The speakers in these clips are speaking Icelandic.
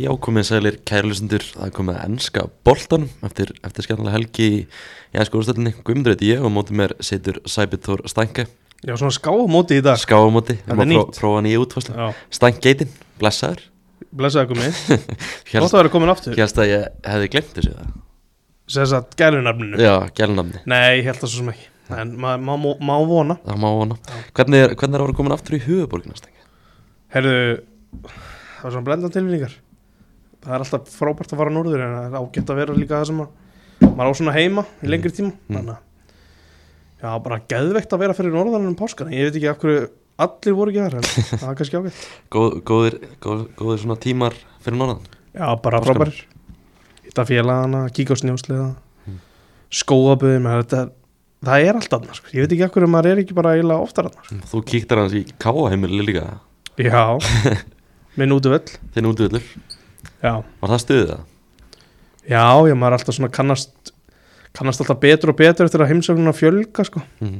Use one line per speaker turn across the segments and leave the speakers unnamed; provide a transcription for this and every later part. Já, komið sælir kærlusundur, það er komið að ennska boltanum eftir, eftir skemmtilega helgi í ennsku úrstöldinni. Guðmundur heiti ég og á móti mér situr Sæbjörn Þór Stænke,
Já, svona skámóti í dag
skáumóti, við
Þetta
erum að
er
pró-
nýtt.
prófa nýja útfæsla.
Já,
Stænkgeitin, blessaður,
blessaði okkur með Gott
hérst
að vera komin aftur
hérst að ég hefði glemt þessu það.
Sess að gælunarfninu
Já, gælunamni,
Nei, ég held það svo sem ekki En maður ma ma má vona
það má vona. Hvernig er, hvernig er að vera komin aftur í höfuborgina, Stænke?
Herðu, það var svona blenda tilfinningar Það er alltaf frábært að fara norður En það er ágætt að vera líka það sem að Maður á svona heima í lengri tíma
Mm.
Þannig að Já, bara geðveikt að vera fyrir norðan en um páskana Ég veit ekki af hverju allir voru ekki þar En það er kannski ágætt
Góð, góðir, góð, góðir svona tímar fyrir norðan?
Já, bara
Páskana.
frábærir Hitta félagana, kíka á snjósliða Hmm. Skóaböðum þetta, Það er allt annars sko. Ég veit ekki af hverju maður er ekki bara eiginlega oftar sko. annars
Þú kíktar hans í káaheimili líka,
Já Minn út um völl
þinn útvöldur.
Já,
Var það stuðið það?
já, já maður er alltaf svona kannast Kannast alltaf betur og betur eftir að heimsögnuna fjölga sko.
Mm.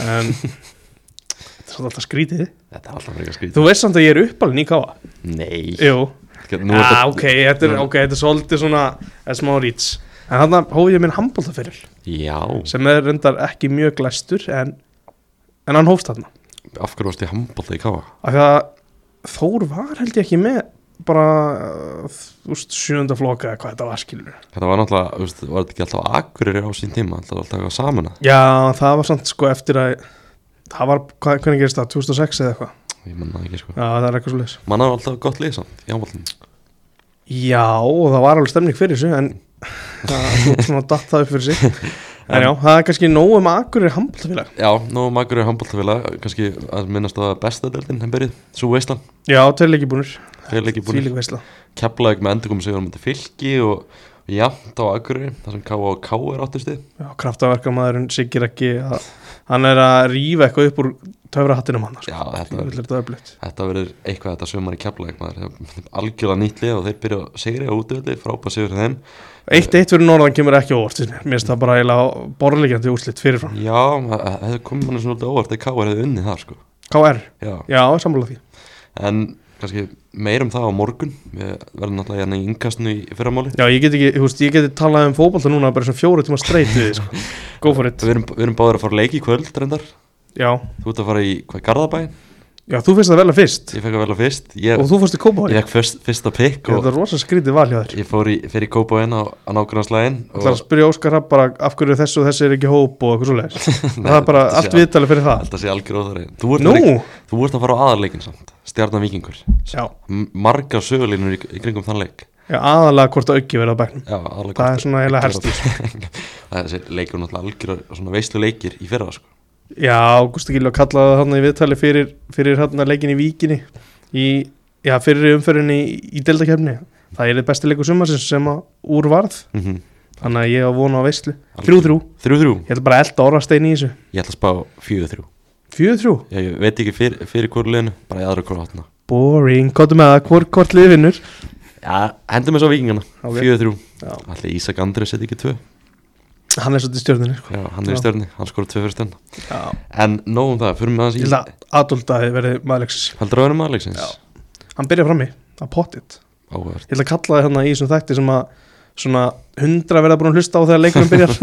En Þetta er svona alltaf skrítið
Þetta er alltaf frekar skrítið.
Þú veist samt að ég er uppalinn í káa
Nei.
Jú,
Nú er
já,
þetta-
ok, þetta er,
nú-
okay, þetta er svolítið svona þetta er smá rýts En þarna hófið ég minn handbóltaferil
Já.
sem er reyndar ekki mjög glæstur en, en hann hófst þarna
af hverju varst ég handbólta í káa?
af því að Þór var held ég ekki með bara uh, þú veist, sjönda floka eða hvað þetta var skilur
Þetta var náttúrulega, þú veist, var þetta ekki alltaf akkurir á sín tíma, alltaf alltaf eitthvað saman að
já það var samt sko eftir að það var, hvað, hvernig gerist það, 2006 eða eitthvað
ég manna það ekki sko.
já það er eitthvað svo
Manna var alltaf gott lið samt í handbóltin.
já og það var alveg stemning fyrir þessu en það svona- svona datt það upp fyrir sig en já það er kannski nóg um akkurir handbóltafélag
Já, nú um akkurir handbóltafélag, kannski að minnast á það besta deildin, þeim byrjuð, svo veistlan,
já tveir leiki búnir
þeir leikir búin,
Þvílík veisla.
keplaðið með endurkomu sigur á myndi fylki og jafnt á akkurir, þar sem káa og káa er áttustu.
Já, kraftaverkamæðurinn Sigir ekki að, hann er að rífa eitthvað upp úr töfrahattinum hann sko.
Já, þetta,
Þetta er þetta öflugt
þetta verður eitthvað þetta sömur í keplaðið, maður, Þetta er algjörlega nýtt lið og þeir byrja að segja á útvöldi, frábæð sigur hjá þeim.
Eitt eitt fyrir norðan kemur ekki á óvart finnst mér. Mér finnst það bara eiginlega borðlegjandi úrslit fyrirfram
Já, það það hefði komið manni svona svolítið óvart að káa hefði unnið það sko.
KR,
Já.
já, sammála því
En kannski meir um það á morgun Við verðum náttúrulega hérna í yngkastinu í fyrramáli
Já, ég get ekki, þú veist, ég geti talað um fótbolta núna bara svona fjóru tíma streit við því, sko. Go for it
Við erum, við erum báður að fara á leik í kvöld reyndar
Já,
Þú ert að fara í hvað, Garðabæin
já þú finnst það vel að fyrst
Ég fekk að velja fyrst Ég,
og þú fórst í
ég
Kópahóri
fekk fyrst, fyrsta pikk
Þetta
og
er rosa skrítið val hjá þér
ég fór í, fyrir Kópavæn á, á nákvæmnarslægin
Það er að spyrja Óskar Rapp bara af hverju þessu og þessi er ekki hóp og eitthvað svoleiðis Það er bara allt viðtalið fyrir það
Alltaf sé algjör óþari Þú ert,
Nú,
að leik, þú ert að fara á aðarleikin samt Stjarnan Víkingur
já,
M- Margar sögulínur í, í kringum þann leik
já aðalega hvort að auki verið á bæknum
Já, aðalega
Það er svona eiginlega sko. helst í þessu.
Það er þessi leikur náttúrulega algjör Svona veislu leikir í fyrra sko.
Já, Gústi Gilva kallaði hann í viðtali fyrir, fyrir hann að leikin í Víkinni í, já, fyrir umferðinni í, í deildakefni. Það er þið besti leikur sumarsins sem að úr varð,
mm
þannig að ég á vona á veistlu. 3-3,
Þrjú þrjú
ég ætla bara að elda orðastein í þessu.
Ég ætla að spá fjögur þrjú
4-3,
Ég ég veit ekki fyrir, fyrir hverju liðinu, bara í aðra hverju hátna
boring, kóttu með það, hvort, hvort liðvinnur.
Já, hendum við svo vikingana,
Ok.
fjögur þrjú
Já.
Allir Ísak Andrið setja ekki tvö
Hann er svolítið stjórnir, sko.
Já, hann er í
Já.
stjörni, hann skora tvö fyrir stjörna
Já.
En nóg um það, fyrir mig
Ég
aðeins
held
í
að Adolf að verði maðurleiksins.
Haldur að vera maður leiksins
Já. Hann byrja frammi, að pottit.
Áhverð
Ég ætla að kalla það hérna í þessum þætti sem að svona hundra verða búin að hlusta á þegar leikunum byrjar.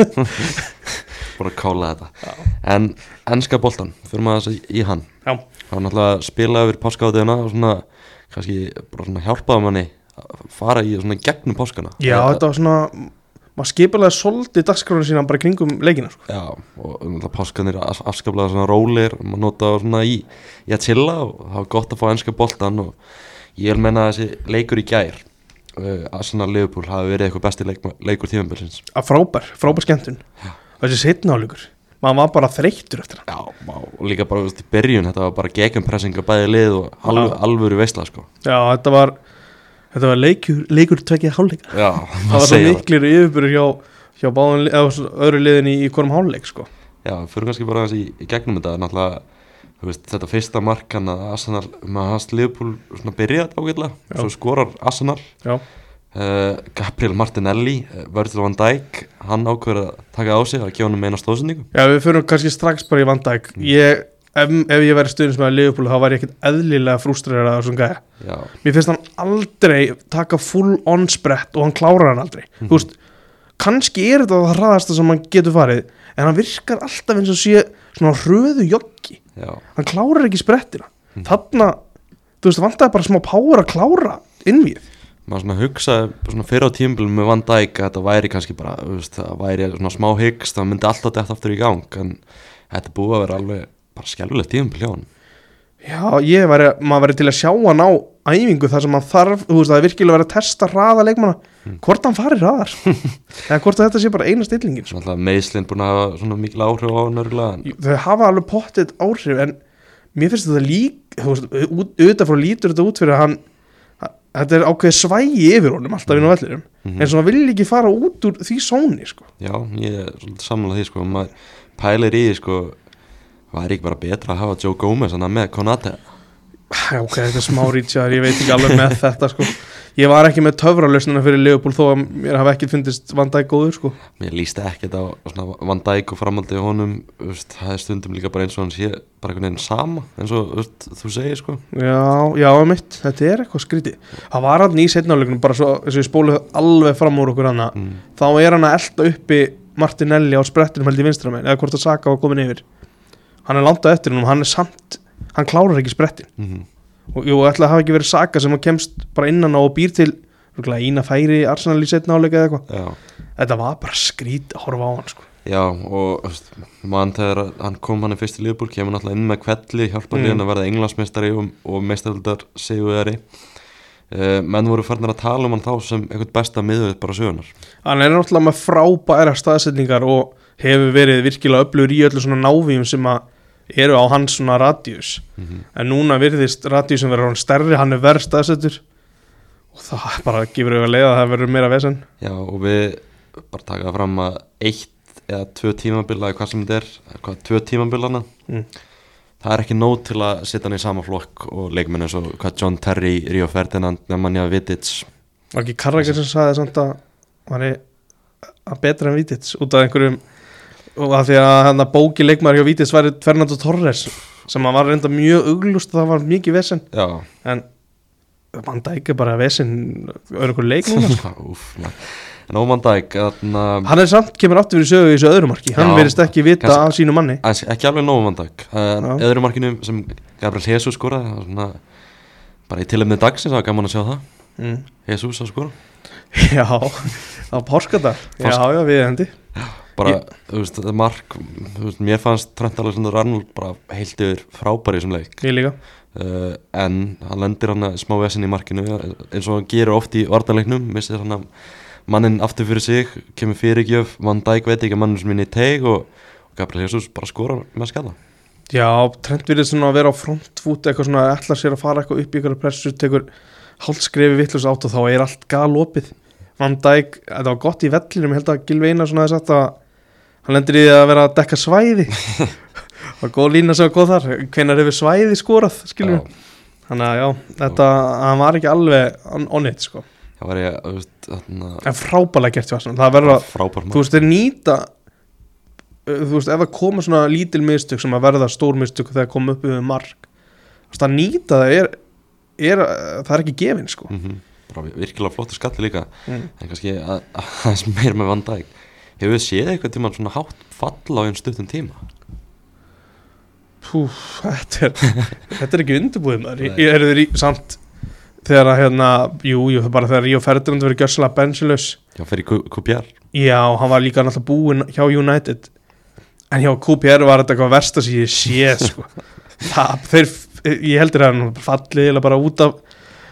Bara að kála þetta En ennska boltan, fyrir mig aðeins í- í hann
Já.
Hann náttúrulega spilaði yfir páskaðuðina og svona, kannski bara svona hjálpaði manni að fara í svona gegnum páskana
Já, þetta var svona maður skipulega soldi dagskránu sína bara kringum leikina sko.
Já, og um náttúrulega páskanir af- afskaplega svona rólir, maður nota þá svona í, í að chilla og það var gott að fá enska boltan og ég vil menna að þessi leikur í gær uh, Arsenal Liverpool hafi verið eitthvað besti leik, leikur tímanbilsins
að frábær, frábær skemmtun og þessi setna álugur, maður var bara þreyttur eftir hann
Já, má, og líka bara þú veist, í byrjun, þetta var bara gegnpressing að bæði lið og alvöru,
Já.
alvöru veistla sko
Já, þetta var, þetta var leikur, leikur tvekja hálfleika
Já,
það var svo miklir yfirbyrður hjá, hjá báðun, eða svo öðru liðin í, í hvorm hálfleik sko.
Já, fyrir kannski bara aðeins í, í gegnum þetta náttúrulega, þú veist, þetta fyrsta markan að Arsenal, maður hans Liverpool svona byrjaði ágætlega,
Já.
svo skorar Arsenal
Já,
Uh, Gabriel Martinelli, uh, Virgil van Dijk hann ákveður að taka á sig að gefa hann um eina stóðsendingu
Já við fyrir kannski strax bara í vandæk ég ef, ef ég væri stuðnismæður Liverpool þá væri ég ekkert eðlilega frústræður að þessum gæja
já,
mér finnst hann aldrei taka full on sprett og hann klárar hann aldrei þú veist, kannski er þetta það hraðasta sem hann getur farið en hann virkar alltaf eins og sé svona hröðu joggi
já,
hann klárar ekki sprettina
Mhm.
þarna, þú veist, vantaði bara smá power að klára innvíð
maður svona hugsaði svona fyrir á tímbilum með Van Dijk að þetta væri kannski bara, þú veist, það væri svona smá hyggst, það myndi alltaf dætt aftur í gang en þetta er búið að vera alveg bara skelvilegt tímbil hjá hann
já, ég væri, maður væri til að sjá hann á æfingu þar sem hann þarf, þú veist, það er virkilega verið að testa hraða leikmanna, hvort hann fari hraðar eða hvort að þetta sé bara eina stillingin
svona alltaf meðslinn búin að hafa svona mikil áhrif á hann örgulega en
Jú, þau hafa alveg pottet áhrif en mér finnst þetta lík þú veist, út- auðvitað frá lítur þetta út fyrir að hann að- þetta er ákveðið svægi yfir honum alltaf inn á vellirum
Mhm.
eins og hann vil ekki fara út úr því sóni sko.
Já, ég er svolítið samanlega því sko maður pælir í því sko væri ekki bara betra að hafa Joe Gomez þannig með Konate
Já, Ah, ok, þetta er smá rítjaður, ég veit ekki alveg með þetta sko. ég var ekki með töfralösnuna fyrir Leopold þó að mér hafa ekki fundist vandæk góður sko.
mér líst ekkert á svona, Van Dijk og framaldið honum veist, það er stundum líka bara eins og hann sé bara einhvern veginn sama eins og veist, þú segir sko
já, já, mitt, þetta er eitthvað skrítið það var hann í setnáleiknum bara svo, eins og ég spólu alveg fram úr okkur annað
mm.
þá er hann að elda uppi Martinelli á sprettinum held í vinstramenn eða hvort að Saka var komin yfir hann er langt á eftir hann og hann er samt hann klárar ekki sprettin
Mm
og jú, ætla að hafa ekki verið Saka sem hann kemst bara innan á og býr til örugglega eina færi Arsenal í setna áleika eða eitthvað
Já.
þetta var bara skrít að horfa á hann sko.
Já, og veist, mann þegar hann kom hann í fyrst í Liðbúl kemur náttúrulega inn með kvelli hjálpar
Mm.
mm. liðan að verða englansmeistari og, og meistaröldar sigurveri uh, menn voru farnir að tala um hann þá sem eitthvað besta miðvöð bara sögunar
hann er náttúrulega með frábæra staðsetningar og hefur verið virkilega öflugur í öllu svona návíum sem að eru á hans svona radius
Mhm.
en núna virðist radiusin verður hann stærri hann er verð staðsettur og það er bara gefur auðvitað leið að það verður meira vesen
Já, og við bara taka það fram að eitt eða tvö tímabila eða hvað sem þetta er, eða hvað, tvö tímabilana
Mm.
það er ekki nóg til að setja hann í sama flokk og leikmenn eins og hvað John Terry, Rio Ferdinand, Nemanja Vidic
var ekki Karraker sem sagði samt að hann er að betra en Vítits út af einhverjum og að því að hann að bóki leikmaður hjá Vítits væri Fernando Torres sem að var reynda mjög auglust og það var mikið vesen
Já,
en Van Dijk er bara vesen öðru einhver leik núna
úf man. En Óman Dæk, þarna
hann er samt kemur aftur fyrir sögu í þessu öðru marki hann
Já,
verist ekki vita
kannski-
af sínu manni
aðeins- ekki alveg nóg Óman Dæk en
Já.
öðru markinu sem Gabriel Jesus skoraði, það var svona bara í tilöfnið dagsins, það var gaman að sjá það
mm.
Jesus að skora
já, á páskadag já,
Páska-
já, við endi
bara, þú veist, þetta mark þú veist, mér fannst Trent Alexander Arnold bara heilt yfir frábæri sem leik
ég líka
uh, en hann lendir hann smá vesen í markinu eh, eins og hann gerir oft í vartaleiknum missir hann að mannin aftur fyrir sig kemur fyrirgjöf, Van Dijk veit ekki að mannum sem minni í teig og, og Gabriel Jesus bara skora með skalla
já, trend verið svona að vera á frontfút eitthvað svona, ætlar sér að fara eitthvað upp í ykkur pressu, tekur hálfskrefi vittlust átt og þá er allt galopið Van Dijk, þetta var gott í vellinum ég held að Gilvi Einar svona þess að hann lendir í því að vera að dekka svæði og góð lína sem var góð þar hvenar hefur svæði skorað,
Já.
skilur við þannig að já, þetta, hann var ekki alveg on, on it, sko
það var ég, þú veist, þarna
en frábælega gert hjá Arsenal það verður að,
frábær
þú
mark
veist, þeir nýta uh, þú veist, ef það koma svona lítil mistök sem að verða stór mistök þegar koma upp yfir mark þú veist, að nýta það er, er uh, það er ekki gefin, sko
mm bara virkilega flottu skalli líka
mm.
en kannski að- aðeins meir með Van Dijk hefur þið séð eitthvað tíma svona hátt falla á einn stuttum tíma
Pú, þetta er þetta er ekki undirbúið maður,
Nei.
ég, ég er þeir í samt þegar að hérna, jú, jú, bara þegar Ríó Ferdinand verið gjössalega bensilaus
já, fyrir QPR
já, hann var líka náttúrulega búinn hjá United en hjá QPR var þetta eitthvað versta sem ég sé sko. það, þeir, ég heldur að hann fallið eða bara út af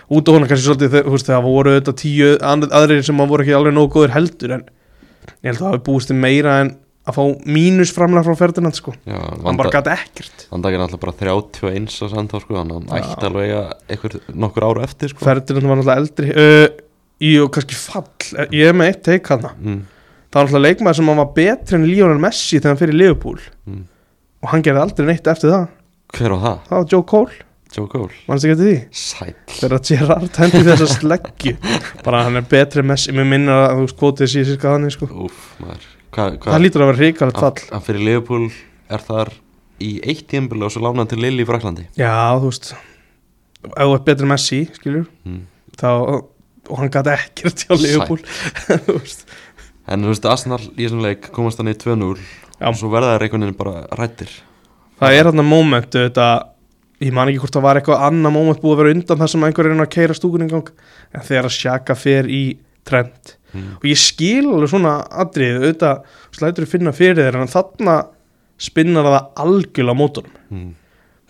út af honum kannski svolítið þegar, þú veist, þegar voru auðvitað tíu and- aðrir sem voru ekki alveg nógu góður heldur en ég held að það hafi búist til meira en að fá mínus framlega frá Ferdinand sko.
já,
hann bara gæti ekkert
Vandag er náttúrulega bara 31 á samtá sko, þannig að hann
Já.
ætti alveg að eitthvað nokkur ára eftir sko.
Ferdinand var náttúrulega eldri uh, Jú, kannski fall Ég er með eitt teik hana
mm,
Það var náttúrulega leikmaður sem hann var betri en Lionel Messi þegar hann fyrir Liverpool
mm.
og hann gerði aldrei neitt eftir það
Hver á það?
Það var Joe Cole,
Joe Cole?
mannst ekki eftir því
Sæl
Þegar Gerrard hendi þessa sleggju bara hann er betri en Messi Mér minnir að þú skotið sér sirka þannig sko
Úf, maður Hva, hva, Ah.
Það lítur að vera ríkalegt
hann,
fall
hann fyrir Liverpool er þar í eitt tímbili og svo lánaði hann til Lille í Fraklandi
Já, þú veist ef þú er betri en Messi, skilur
mm.
þá, og hann gæti ekkert hjá Leopold þú veist
En þú veist, Arsenal í þessum leik komast hann í 2-0
Já.
og svo verða þær einhvern veginn bara rættir
Það er hann að moment þetta, ég man ekki hvort það var eitthvað annað moment búið að vera undan þar sem einhver er að keira stúkunni í gang en þegar að sjaka fer í trend
Mm.
og ég skil alveg svona atrið auðvitað slætur að finna fyrir þeir en þarna spinnar það algjörlega á mótunum
mm.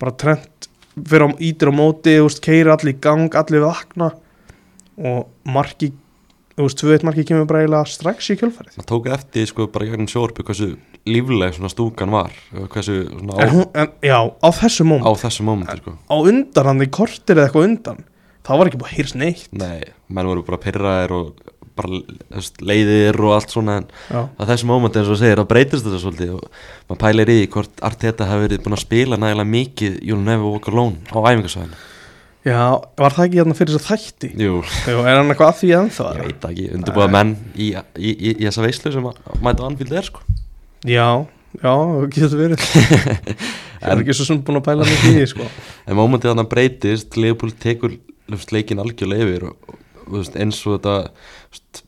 bara trend fyrir á ítir á móti úst, keira allir í gang, allir vakna og marki þú veist, 2-1 marki kemur bara eiginlega strax í kjölfarið
Maður tók eftir sko bara í gegnum sjórpi hversu lífleg svona stúkan var og hversu svona á,
en hún, en, já, á þessu moment
á þessu mómenti sko
á undan hann í kortir eða eitthvað undan þá var ekki búið að hýrst neitt
Nei, menn voru bara pyrraðir og bara þú veist, leiðir og allt svona en
já,
að þessum mómenti eins og þú segir að breytist þetta svolítið og maður pælir í því hvort Arteta hafi verið búin að spila nægilega mikið You'll Never Walk Alone á æfingarsvæðinu
já var það ekki hérna fyrir þess að þætti
Jú,
Jú, er hann eitthvað að því ennþá
ég veit það ekki, undirbúða menn í, í, í, í þessa veislu sem að mæta á anfíld er sko
já, já, það getur verið ég er ekki svo sem búin að pæla mikið í því sko.
En mómentið þannig breytist, Leopold tekur löfst, leikin algjörlega yfir og, og, þú veist, eins og þetta þú veist,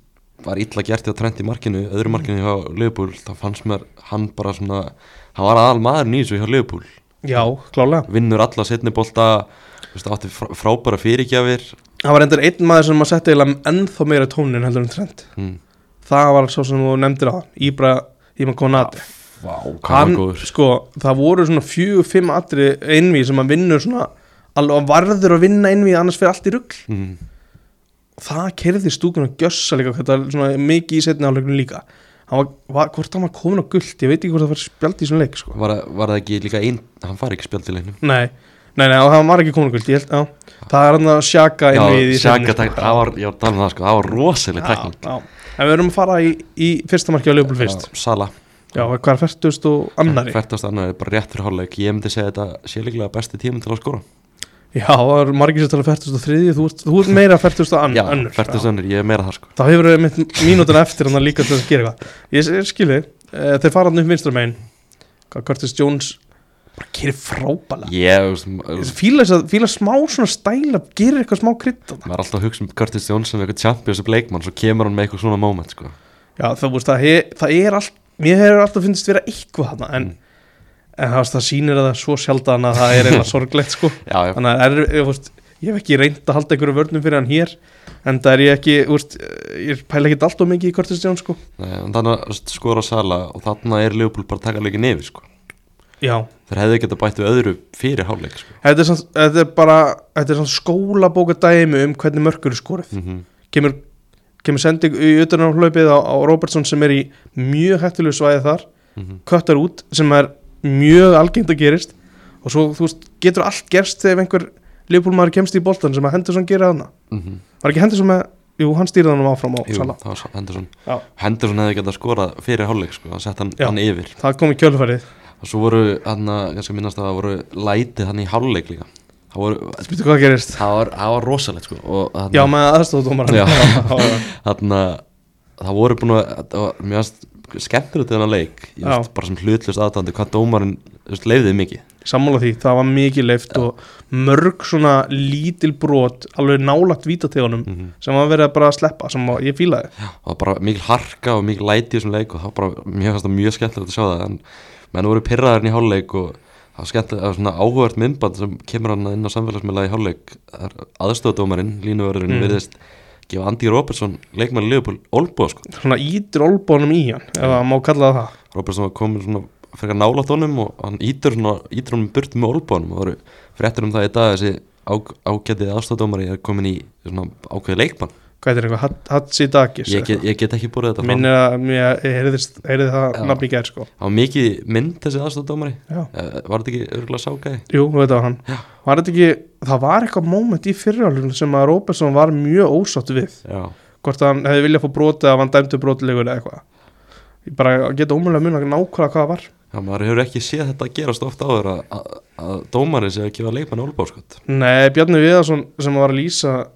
var illa gert í að trend í markinu,
Mm.
öðru markinu hjá Leopold, þá fannst mér hann bara svona, hann var aðal maður nýs og hjá Leopold,
já, klálega
vinnur alla setni bolta, þú veist, átti frá, frábæra fyrirgjafir
það var endur einn maður sem að setja eiginlega ennþá meira tónin heldur en trend
mm.
það var svo sem þú nefndir á hann Íbra, Íma Konati
Vá, hvað hann,
hann,
góður
sko, það voru svona fjögur, fimm atri einvið sem að vinnur svona alveg varður að vinna einvið annars fyrir allt í rugg
mm.
það kerði stúkun að gjössa líka þetta er svona mikið í setni áleiknum líka hann var, var, hvort hann var komin á gullt ég veit ekki hvort það var spjald í svona leik sko.
var, var það ekki líka einn, hann fari ekki spjaldileginu
nei, nei, nei, hann var ekki komin á gullt ég held, já, það er hann að sjaka
Já,
inn við í
sjaka takk, það var, já, talað um það sko, það var rosaleg
já,
teknik
já. en við erum að fara í, í fyrsta marki á Leopold fyrst
Já, Sala
já, hvað er fyrstust og annari
Færtast annar er bara rétt fyrir hálfleik Ég myndi segja þetta sé líklega besti tíminn til að skora
já, það er margir sem tala fyrstust og þriði þú, ert- þú ert meira fyrstust og ann,
Já,
annur
færtast annar, ég er meira þar sko
þá hefur við mitt mínútur eftir hann líka til að gera eitthvað ég, ég skilji, uh, þeir fara hann upp vinstra megin hvað Curtis Jones bara gerir frábæla
Ég, þú veist, maður-
ég fíla, þess að, fíla smá svona stæla gerir eitthvað smá krydd
maður er alltaf að hugsa um Curtis Jones sem eitthvað champions of leikmann Svo kemur hann með eitthvað svona moment sko
já þú veist það, he, það er allt mér hefur alltaf finnst vera eitthvað þarna en, en það, það sýnir að það er svo sjaldan að það er eiginlega sorglegt sko
Já, já,
þannig að er, ég, veist, ég hef ekki reynd að halda einhverju vörnum fyrir hann hér en það er ég ekki úrst, ég pæla ekki alltaf mikið í Curtis Jones sko
Nei, Eh, en þannig að skora Sala Og þannig er Leopold bara að taka leikin yfir sko
já
Þeir hefðu getað bætt við öðru fyrir hálfleik sko
Þetta er, samt, þetta er bara þetta er skólabóka dæmi um hvernig mörkur er skorið
mm -hmm.
kemur, kemur sending í utanarhlaupið á, á Robertson sem er í mjög hættulegu svæði þar
Mhm.
köttar út sem er mjög algengt að gerist og svo þú veist, getur allt gerst þegar einhver liðbúlmaður kemst í boltan sem að Henderson gera hana var ekki Henderson með, jú hann stýrði hann áfram á
Mhm. Jú,
Sala
það var Henderson
Já.
Henderson hefði getað skorað fyrir hálfleik sko Það sett hann,
Já.
hann yfir
það kom í kjölfarið
Og svo voru, hann að, kannski minnast að það voru lætið hann í hálfleik líka Það voru,
spytu hvað gerist
það var, það var rosalegt sko og
já
þarna,
með aðstofdómar
Já.
já,
þarna það voru búin að það var mjög aðst- skemmtilegt í þennan leik ég
Já.
veist bara sem hlutlust aðtandi hvað dómarinn þú veist, leiðið mikið
sammála því, það var mikið leift og mörg svona lítil brot alveg nálagt vítategunum
Mhm.
sem var verið að bara sleppa, sem var, ég fílaði
það var bara mikil harka og mikil læti í þessum leik og það var bara mjög, fannst það mjög skemmtilegt að sjá það en menn voru pyrraðarinn í hálfleik og það var skemmtilegt, það var svona áhugavert myndband sem kemur hann inn á samfélagsmiðla í hálfleik aðstofdómarinn, línuverðurinn
Mm.
mm. virðist gefa Andy Robertson leikmann Leopold Olbúa sko
svona ítir olbónum í hann ef það má kalla það það
Robertson var komin svona frekar nálátt honum og hann ítur, svona, ítur honum burt með olbónum og það eru fréttur um það í dag þessi á, ágætið aðstofdómari er komin í svona ákveðið leikmann
hvað er eitthvað, Hatsi Dagis
ég get, ég get ekki búið þetta fram
minnir að mér heyrðist- heyrði það
Já.
nafn í gær sko
það var mikið mynd þessi aðstofdómari
já.
Eh, var þetta ekki örgulega ságæði
jú, þetta var hann var þetta ekki, það var eitthvað moment í fyrirhálfum sem að Róbertsson var mjög ósátt við
já,
hvort hann hefði viljað fá brotið að hann dæmdu brotilegur eða eitthvað ég bara geta umhverjulega mun að nákvæða hvað það var
já maður hefur ekki séð þetta gerast ofta áður að, að, að dómari sé að gefa sko. leikmann olbór skott
Nei, Bjarni Viðarsson sem var að lýsa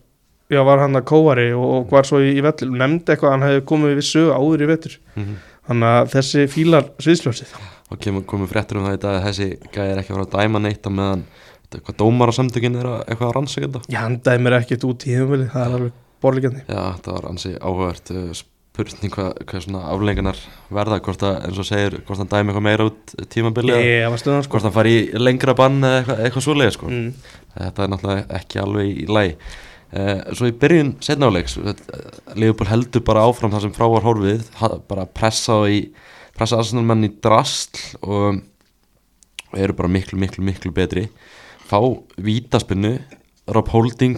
Já, var hann að kóari og, og var svo í, í vellir Nefndi eitthvað að hann hefði komið við sögu áður í vetur
Mhm.
Þannig að þessi fílar sviðsljósið
þá kemur komið fréttur um það í dag að þessi gæði er ekki að fara að dæma neitt á meðan þetta er hvað dómarasamtökin er að, eitthvað að rannsaka þetta
Ég handaði mér ekkert út í heimvili Það er alveg borlíkjandi
Já, þetta var ansi áhugavert uh, spurning hvað, hvað svona aflengunar verða hvort að, eins og segir, hvort hann dæmi eitthvað meira út tímabilið,
Ég var stöðan sko
hvort hann fari í lengra bann eða eitthvað, eitthvað svoleið sko.
Mm.
þetta er náttúrulega ekki alveg í læ uh, svo í byrjun setna áleiks Leopold eh, heldur bara áfram það sem frá var horfið ha- bara pressa á í pressa aðsennarmenn í drastl og, og eru bara miklu miklu miklu betri fá vítaspinnu Rob Holding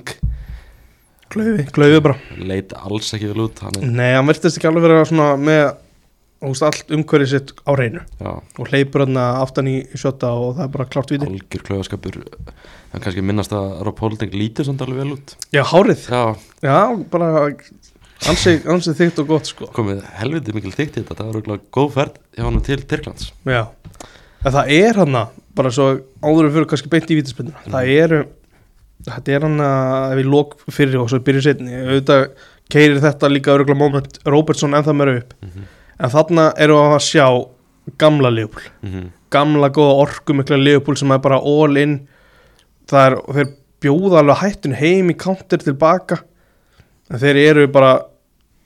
Klaufi, klaufi bara
leit alls ekki vel út hann er,
Nei, hann verðist ekki alveg vera svona með þú veist, allt umhverfið sitt á reynu
já,
og hleypur hann aftan í sjötta og það er bara klárt viti
algjör klaufaskapur hann kannski minnast að Rob Holding lítur samt alveg vel út
Já, hárið,
já,
já, bara ansi, ansi þygt og gott sko
komið helviti mikil þykkt í þetta það var auðvitað góð ferð hjá hann til Tyrklands
Já, en það er hann bara svo áður við fyrir kannski beint í vítaspinnuna það eru þetta er hann að ef við lók fyrir og svo byrjum setni, auðvitað keirir þetta líka örgulega moment Robertson en það meira upp en þarna eru að sjá gamla Leopold,
mm
gamla góða orku mikla Leopold sem er bara all in það er, þeir bjóða alveg hættun heim í counter tilbaka en þeir eru bara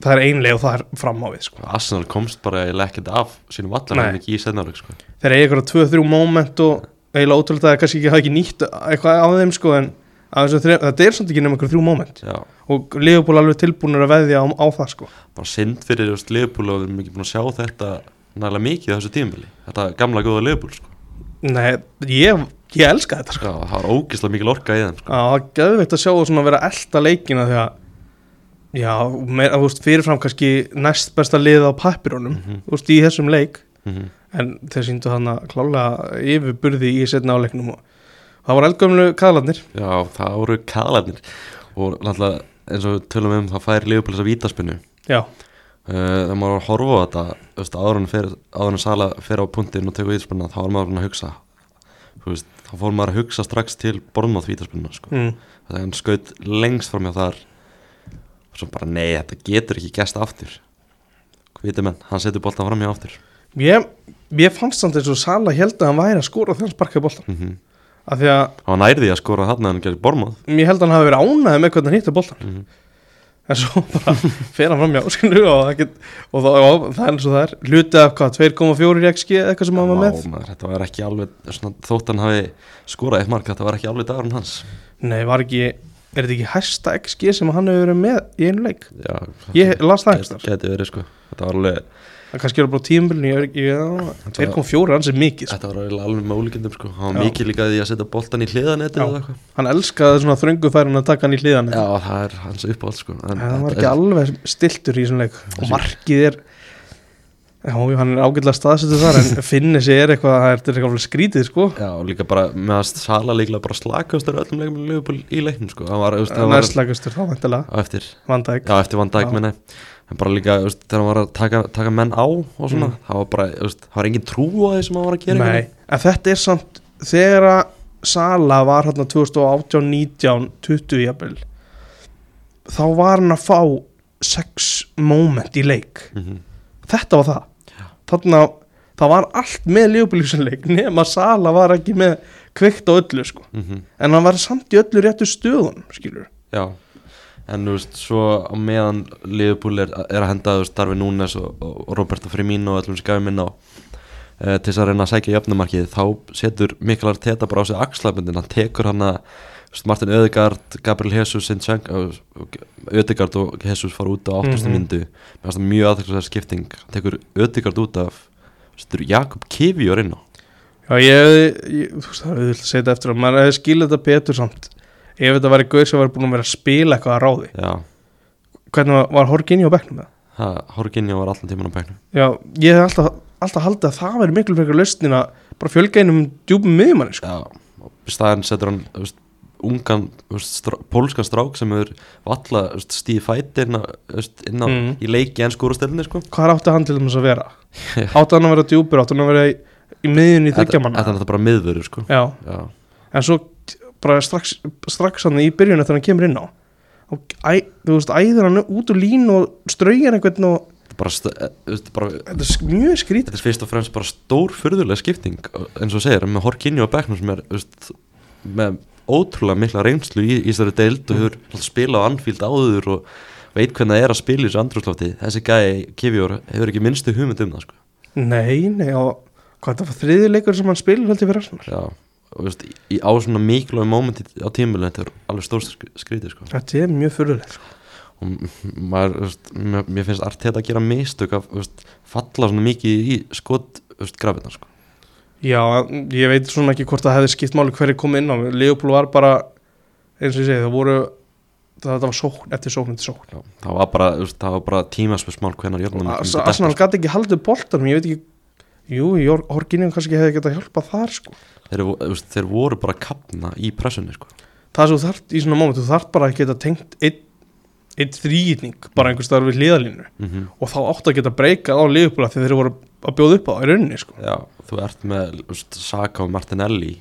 það er einlega og það er fram á við sko.
Arsenal komst bara eiginlega ekkert af sínum vallar
Nei.
en ekki í senarleik sko.
þeir eiga eitthvað 2-3 moment og eiginlega ótrúlega það er kannski ekki, hafa ekki nýtt eitthvað af þeim sko en af þessum þrem, þetta er svolítið ekki nema eitthvað 3 moment
Já,
og Leopold alveg tilbúinur að veðja á, á það sko
bara synd fyrir just, Leopold og við erum ekki búin að sjá þetta nægilega mikið á þessu tímabili þetta gamla góða Leopold sko.
Nei, ég, ég elska þetta sko
Já, það var ógislega mikil orka í þeim sko.
Já, það er geðveikt að sjá það svona vera elta leikina því að já, meir, þú veist, fyrirfram kannski næst besta lið á pappirunum
Mhm.
þú veist, í þessum leik
mm
en þeir síndu hann að klálega yfirburði í setna áleiknum og það voru eldgömlu kaðlarnir
Já, það voru kaðlarnir og náttúrulega eins og við tölum um það fær Leopold þessa vítaspinnu
Já,
uh, þegar maður var að horfa á þetta þú veist, áður en fer- áður en Sala fer á punktinn og tekur vítaspinna þá var maður búin að hugsa Þú veist, þá fór maður að hugsa strax til borðmátt vítaspinna sko.
mm.
þannig að hann skaut lengst fram hjá þar og svo bara nei, þetta getur ekki gæst aftur hviti menn, hann setur boltan fram hjá aftur
Ég, ég fannst samt eins og Sala held að hann væri að skora þegar hann sparkaði boltan
mm
af því að
hann nærði að skora þarna en hann gerir bormað
ég held að hann hafi verið ánæði með hvernig hann hittu boltan en svo bara fer hann fram hjá skilur, og, það get, og það, og það er eins og það er hlutið af hvað 2,4 í XG eða eitthvað sem hann var með
þetta var ekki alveg svona, þótt hann hafi skorað eitt mark þetta var ekki alveg dagurinn hans
Nei, var ekki, er þetta ekki hæsta XG sem hann hefur verið með í einu leik
Já,
Ég las það
get,
ekki
geti verið sko þetta var alveg,
það kannski er bara tímbilinu ég, ég, ég, 2,4 hans er mikið sko.
þetta var alveg, alveg með ólíkindum sko hann
Já.
var mikið líka í því að setja boltan í hliðanettið
Já.
eða eitthvað
hann elskaði svona þröngu færin að taka hann í hliðan
Já, það er hans uppáhald sko en
En hann var
þetta
ekki
er-
alveg stiltur í svona leik og markið er já, jú, hann er ágætlega staðsettur þar en finnir sig er eitthvað, það er þetta er eitthvað alveg skrítið sko
Já, og líka bara, með að Sala líklega bara slakastur öllum leikum í Liverpool í leiknum sko hann var, þú veist, hann var
næstlægastur þá vantilega,
á eftir
vandæk
Já, eftir Van Dijk
Já.
minni En bara líka, þú veist, þegar hann var að taka, taka menn á og svona, það var bara, þú veist, það var engin trú á því sem hann var að gera
Mm. Nei, en þetta er samt þegar að Sala var hérna 2018, 19, 20 jafnvel þá var hann að fá sex moment í leik
mm -hmm.
þetta var það þarna, það var allt með lífbílífsanleik nema Sala var ekki með kveikt á öllu sko
Mm -hmm.
en hann var samt í öllu réttu stöðun skilur,
Já, en þú veist, svo á meðan Liverpool er, er að henda, þú veist, Darfi Núnes og, og Roberto Firmino og öllum sem gafum inn á eh, til þess að reyna að sækja jöfnumarkið þá setur Mikalar Teta bara á sig axlabundin, hann tekur hann að þú veist, Martin Ödegard, Gabriel Jesus Ödegard og Jesus fara út á 8. Mm
Mhm.
myndu mér finnst það mjög aðeinslega skipting hann tekur Ödegard út af þú veist, þetta eru Jakob Kivior inn á
já ég, hefði- ég þú veist það er auðvitað að segja þetta eftir að maður hefði skilið þetta betur samt ef þetta væri gauð sem var búin að vera að spila eitthvað að ráði
já,
hvernig var, var Horginni á bekknum það?
Horginja var allan tíman á pæknu
já, ég hef alltaf, alltaf haldið að það væri miklu frekar lausnin að bara fjölga einum djúpum miðjumanni sko.
Já, og í staðinn setur hann þú veist, ungan, þú veist, strá, pólskan strák sem er valla þú veist, stíði fæti inn á, þú veist, inn á
Mm.
í leiki en skórastellinni sko
hvað átti hann til þess að vera? átti hann að vera djúpur, átti hann að vera í, í miðjunni í
Þetta þetta
þryggjamanna?
er náttúrulega bara miðvörur sko
já,
Já,
en svo t- bara strax, strax hann í byrjun eftir hann kemur inn á og æ, þú veist, æðir hann út úr lín og straujar einhvern og
þetta er bara, st- eh, þú veist, bara
Þetta er sk- mjög skrítið
þetta er fyrst og fremst bara stór fyrðulega skipting eins og þú segir, með Horkinju og Becknum sem er veist, með ótrúlega mikla reynslu í, í þessari deild og hefur mm. spila á anfíld áður og veit hvernig það er að spila í þessu andrúslofti þessi gæi Kivjór hefur ekki minnstu hugmynd um það sko.
Nei, nei, og hvað það var þriði leikur sem hann spilur held ég fyrir Arsenal
Já, og veist, í, á svona mikilvæg momenti á tímulegum þetta er alveg stór sk- skrítið sko.
Þetta er mjög fyrirlega sko.
og m- maður, veist, mér, mér finnst Arteta að gera mistök að veist, falla svona mikið í skot grafinnar sko.
Já, ég veit svona ekki hvort það hefði skipt máli hverju komið inn á Leopold var bara, eins og ég segi, það voru það, það var sókn eftir sókn eftir sókn
Já, það var bara, þú veist, það var bara tímaspursmál hvenar jörnum
Ars- Arsenal gæti ekki haldið boltanum, ég veit ekki Jú, Horkinjum kannski hefði getað hjálpað þar sko.
þeir, vo- þú veist, þeir voru bara að kapna í pressunni sko.
Það sem þú þarft í svona moment, þú þarft bara að geta tengt einn ein þrýning bara einhvers staðar við hliðalínu
mm
og þá áttu að geta breykað á liðbúla þegar þeir voru að bjóða upp á það í rauninni sko.
Já, þú ert með þú veist, Saka og Martinelli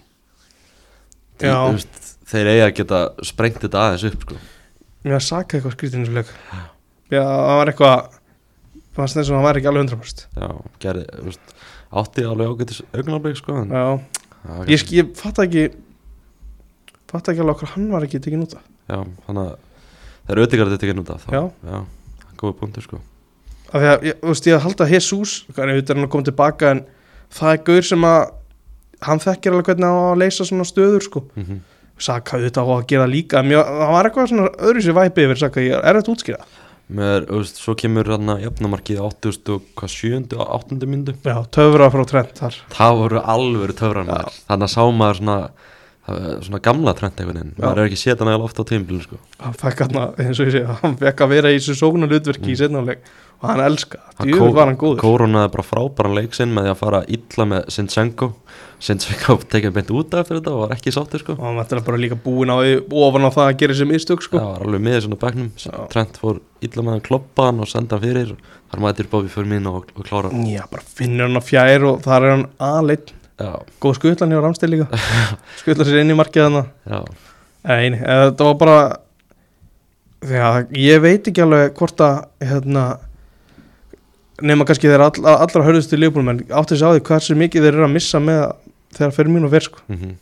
þeir,
Já.
þú veist, þeir eiga að geta sprengt þetta aðeins upp sko.
Mér var saka eitthvað skrítið eins og leik Já, það var eitthvað Það var þess að hann var ekki alveg 100%
Já, gerði, þú veist, átti alveg ágætis augnablik sko, en,
Já,
já,
ég, sk- ég fatt ekki Fatt ekki alveg okkur hann var ekki tekin út af
já, þannig að þeir auðvitað þetta ekki nút af þá
Já.
já góða punktur sko
Af því að, ég, þú veist, ég að halda Jesus Þannig að hann að koma tilbaka en Það er gaur sem að Hann þekkir alveg hvernig á að leysa svona stöður sko
mm
Saka auðvitað á að gera líka Mjö, Það var eitthvað svona öðru sér væpi yfir Saka, ég er þetta útskýra
Mér, þú veist, svo kemur hann að jafnamarkið 87. og 8. myndu
Já, töfra frá trend þar
Það voru alvöru töfrar maður Þannig að sá maður svona það- svona gamla trend einhvern veginn
Já.
maður er ekki séð hann alveg ofta á tímbilinu sko
hann fekk hann að, eins og ég segi, hann fekk að vera í þessu sóknarlutverki í setnáleik og hann elska,
Mm. Hann
djúvel
kó-
var hann góður
Kórónaði bara frábæran leik sinn með því að fara illa með Sinchenko Sinchenko tekið beint út af eftir þetta og var ekki sáttur sko
og hann var bara líka búinn á því ofan á það að gera þessi mistök sko.
Það var alveg miður svona bæknum
Já.
Trent fór illa með hann kloppaðan og senda hann fyrir þar maður þetta er bófið fyrir mín og, og klára
já. bara finnur hann á fjær og þar er hann aðleitt,
Já,
góð skutlan hjá Ramstein líka skutla sér inn í markið hann
já,
Nei, nei, eða þetta var bara þegar ég veit ekki alveg hvort að hérna, nema kannski þeir all, allra hörðustu lífbúlum en átti þessi á því hversu mikið þeir eru að missa með þegar fyrir mínu verð sko
mm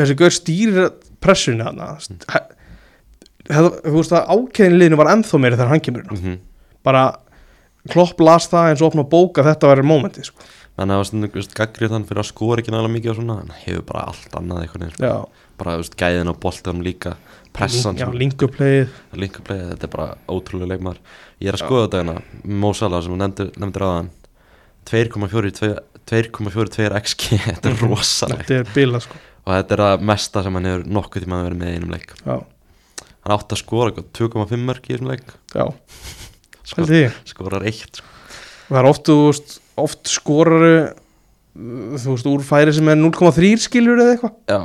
þessi gaur stýrir pressunni hann þú veist að ákveðin liðinu var ennþá meiri þegar hann kemur inn á.
mhm.
bara klopp las það eins og opna bóka þetta væri mómenti sko.
Þannig að það var stundum, veist, gaggrið hann fyrir að skora ekki nálega mikið og svona, hann hefur bara allt annað einhvern veginn, sko.
já,
bara, veist, gæðin á boltanum líka, pressan, sko.
Mhm, já
sem-
lingupleið
linkuplegið, þetta er bara ótrúlega leikmar. Ég er að skoða þetta hérna, Mo Salah sem þú nefndir, nefndir aðan, 2,42 XG, þetta
Mhm.
er rosalegt
þetta er bila sko.
og þetta er það mesta sem hann hefur nokkuð tíma verið með í einum leik.
já,
Hann átti að skora eitthvað 2,5 mörg í þessum leik,
já,
Skor,
held ég
skorar eitt, sko.
það er oft, þú veist, oft skoraru uh, þú veist, úr færi sem er 0,3 skilur eða eitthvað
Já,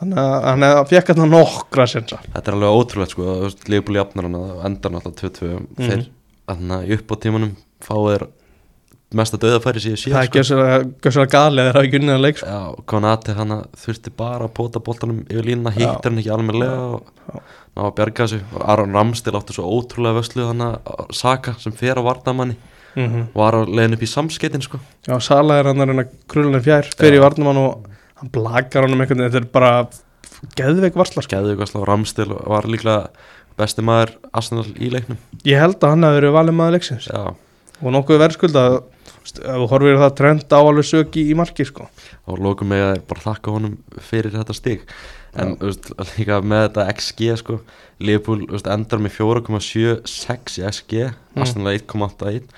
þannig að hann hefði- hann fekk hann nokkra sensa
þetta er alveg ótrúlegt sko, þú veist, Leopold jafnar hann og endar hann alltaf 2-2
Mhm.
þeir, þannig að upp á tímanum fá þeir mesta döðafæri sem ég sé
það er gjössalega galið þegar það er ekki unnið að leik sko.
sko. Já, Konati hann þurfti bara að póta boltanum yfir línuna,
Já.
hittir hann ekki almennilega og
Já.
ná að bjarga þessu og Aron Ramstil átti svo ótrúlega vöslu þannig að Saka sem fer á varnamanni
mm
var að leiðin upp í samskeitin sko
Já, Sala er hann að reyna krullin fjær fyrir
Já.
í varnumann og hann blakar hann um einhvern veginn, þetta er bara geðveik varsla sko.
Skæðu ykkur slá Ramstil var líklega besti maður Arsenal í leiknum
Ég held að hann hafi verið valið maður leiksins
Já,
og nokkuð verðskulda ef þú horfir á það trend á alveg sög í, í marki sko.
og lókum með að þeir bara þakka honum fyrir þetta stig en þú veist, líka með þetta XG sko, Liverpool þú veist, endar með 4,76 í XG
Mm.
Arsenal 1,81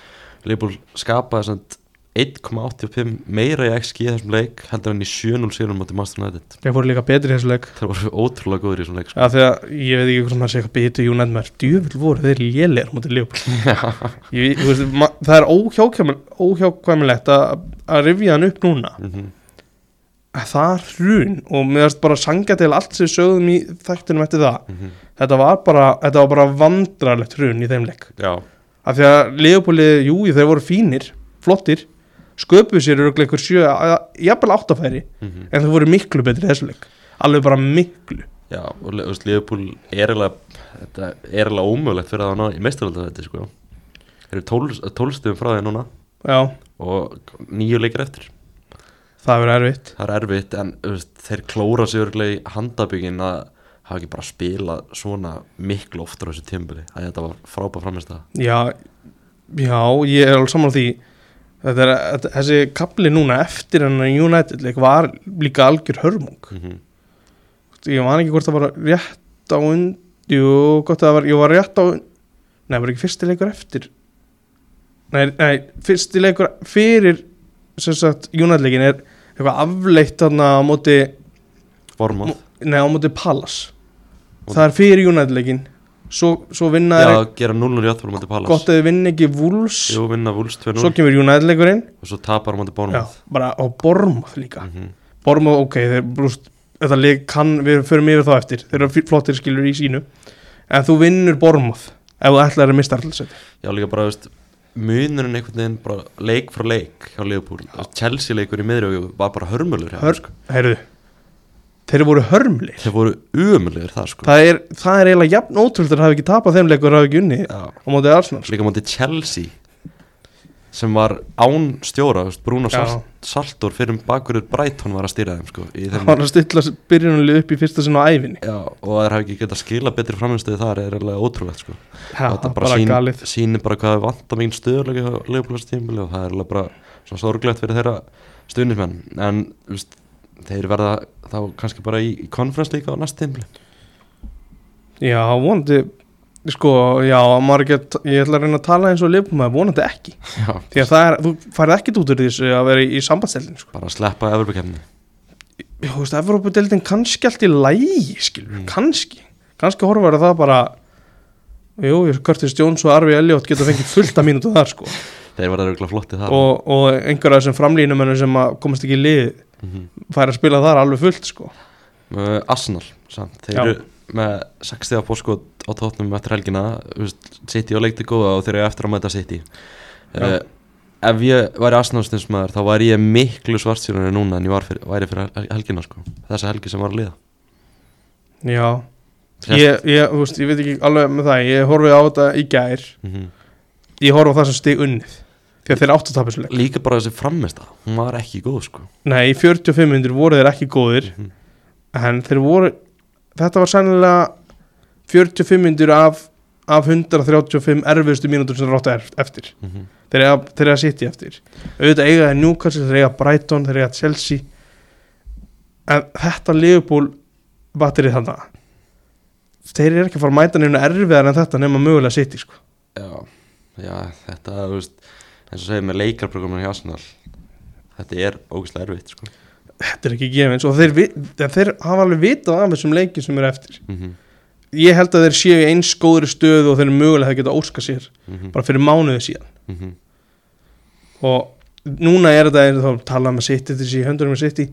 Liverpool skapaði sem sagt 1,85 meira í XG í þessum leik heldur en í 7-0 sérum átti Master United
Ég fór líka betri í þessu leik
þeir voru ótrúlega góður í þessum leik sko.
Já, því að ég veit ekki hvort maður sé eitthvað betur Júnætt maður, djúvill voru þeir lélir mútið Leopold ég, þú veist, ma- Það er óhjákvæmul- óhjákvæmilegt að, að rifja hann upp núna
mm -hmm.
að það er hrun og mér varst bara sanga til allt sem við sögðum í þættinum eftir það
mhm.
þetta var bara, þetta var bara vandrarlegt hrun í þeim leik
Já,
af því að Leopoldi, jú, þeir voru fínir flottir, sköpuð sér örugglega einhver sjö, að- jafnvel áttafæri
mm
en þeir voru miklu betri í þessu leik alveg bara miklu
Já og le- þú veist, Liverpool er eiginlega þetta er eiginlega ómögulegt fyrir að ná í meistaröldavætti sko eru tólstum frá því núna
já,
og nýju leikir eftir
það verður erfitt
það er erfitt en þú veist, þeir klóra sig örgulega í handabyggin að hafa ekki bara spilað svona miklu oftur á þessu tímbili að þetta var frábæð framist að
já, já, ég er alveg saman því þetta er, þetta, þessi kapli núna eftir hennar United leik var líka algjör hörmung
mm -hmm.
ég man ekki hvort það var rétt á und jú, gott að það var, ég var rétt á und- nei, það var ekki fyrsti leikur eftir nei, nei fyrsti leikur fyrir sem sagt, United leikin er eitthvað afleitt þarna á móti
Vormáð
nei, á móti Palace það er fyrir United leikin svo, svo vinna
Já,
er
gera 0-0 í áttfólum á móti Palace
gott að þið vinna ekki Wolves
Jú, vinna Wolves 2-0
svo kemur United leikurinn
og svo tapar á móti
já,
Bormáð
bara á Bormoth líka
mm -hmm.
Bormóð, ok, þeir brúst þetta leik kann, við förum yfir þá eftir þeir eru fí- flottir skilur í sínu en þú vinnur Bormóð ef þú ætlar að mista allasett
Já, líka bara, þú veist munurinn einhvern veginn bara leik frá leik hjá Liverpool, Þú veist, Chelsea leikur í miðri var bara hörmulur hjá þeim, sko.
Hör, heyrðu, þeir voru hörmlir
þeir voru umulir það sko
það er, það er eiginlega jafn ótrúld að hafa ekki tapað þeim leikur hafa ekki unni
Já.
á mótið Arsenal sko.
líka móti Chelsea sem var án stjóra þú veist, Bruno
Já.
Salt, Saltor fyrir um bakverður Brighton var að stýra þeim sko í
það
þeim,
var að stilla byrjunulegu upp í fyrsta sinna á æfinni
já, og að þeir hafi ekki getað skila betri framhengstöði þar er eiginlega ótrúlegt sko
ha,
Og þetta
bara, bara galið
sýnir bara hvað vant að mikið stöðulega leifbúlastímbili og það er alveg bara svona sorglegt fyrir þeirra stuðnismenn en þú veist, þeir verða þá kannski bara í, í konferens líka á næst tímbili
já, vonandi sko, já, maður ekki að t- ég ætla að reyna að tala eins og lifum maður vonandi ekki
já,
því að það er, þú færð ekki út úr þessu að vera í, í sambandstælin sko.
bara að sleppa Evropakefni
Já, þú veist, Evrópudeldin kannski allt í lægi, skilur,
Mm.
kannski kannski horfar það bara jú, ég Curtis Jones og Arvi Elliot geta fengið fullt af mínútu þar, sko
þeir verða auðvitað flotti það
og, og einhverja sem framlínumennum sem að komast ekki í lið
mm
fær að spila þar alveg fullt, sko
uh, Arsenal samt, þeir
Já.
eru með 60 bóskot á tóknum eftir helgina þú veist, City og leikti góða og þeir eru eftir að mæta City uh,
Já.
ef ég væri Arsenal-stinsmaður þá væri ég miklu svartsýrunni núna en ég var fyrir, væri fyrir hel- helgina sko. þessa helgi sem var að liða
Já, ég, ég, þú veist, ég veit ekki alveg með það, ég horfið á þetta í gær
mm
ég horfið á það sem stig unnið því að þeir áttu að tapa þessu leik
líka bara þessi frammesta hún var ekki góð sko
Nei, í 45 minnir voru þeir ekki góðir
Mhm.
en þeir voru þetta var sennilega 45 minnir af, af 135 erfiðustu mínútur sem þeir áttu eft- eftir
mm -hmm.
þeir eiga, þeir eiga City eftir auðvitað eiga þeir Newcastle, þeir eiga Brighton þeir eiga Chelsea en þetta Liverpool batterið þarna þeir eru ekki að fara að mæta nefna erfiðar en þetta nema mögulega City sko.
já, já, þetta þú veist, eins og segir með leikarprograminu hjá Arsenal þetta er ógeðslega erfitt sko
þetta er ekki gefins og þeir, vi- þeir hafa alveg vitað af þessum leikið sem eru eftir
mm -hmm.
ég held að þeir séu í eins góðri stöðu og þeir eru mögulega að geta óska sér
Mhm.
bara fyrir mánuðu síðan og núna er þetta eins og þá talað með City þetta sé í höndurum með City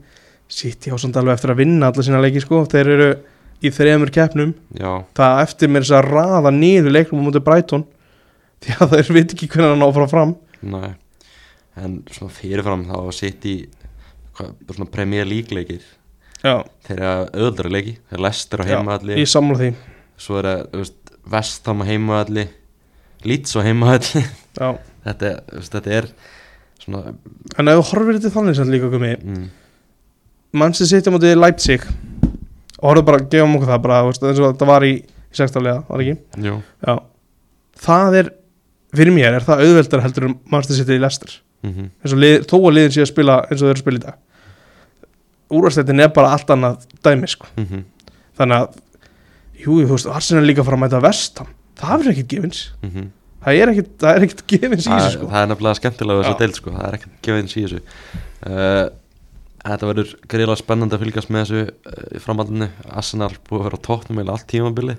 City á samt alveg eftir að vinna alla sína leiki sko þeir eru í þremur keppnum
já,
það á eftir mér þess að raða niður leiknum á móti Brighton því að þeir veit ekki hvernig hann á að fara fram
næ en svona fyrirfram þá var sitt í hvað, bara svona Premier League leikir
já,
þeir eru öðuldra leiki, þeir lestir á
Já,
heimaðalli
ég samla því
svo er það, þú veist, vestam á heimaðalli lýts á heimaðalli
já.
þetta, er- þú veist, þetta er svona
en ef þú horfir þetta þannig sem líka komið
mm,
Manchester City á móti Leipzig og horfðu bara, gefum okkur það bara þú veist, eins og þetta var í, í sextaflega, var ekki
jú
Já, það er fyrir mér er það auðveldar heldur en Manchester City í Leicester
mm
eins og lið, þó að liðin sé að spila eins og þau eru að spila í dag úrvastættin er bara allt annað dæmi sko.
Mhm,
þannig að jú, þú veist, Arsenal er líka að fara að mæta vestam það er ekkert gefins
mhm.
það er ekkert, það er ekkert gefins í
Það
þessu
er-
sko.
það er nefnilega skemmtilega þess
Já.
að deild sko. það er ekkert gefins í þessu uh, þetta verður greiðlega spennandi að fylgjast með þessu uh, í framhaldinu Arsenal búið að vera á tóknum eða allt tímabili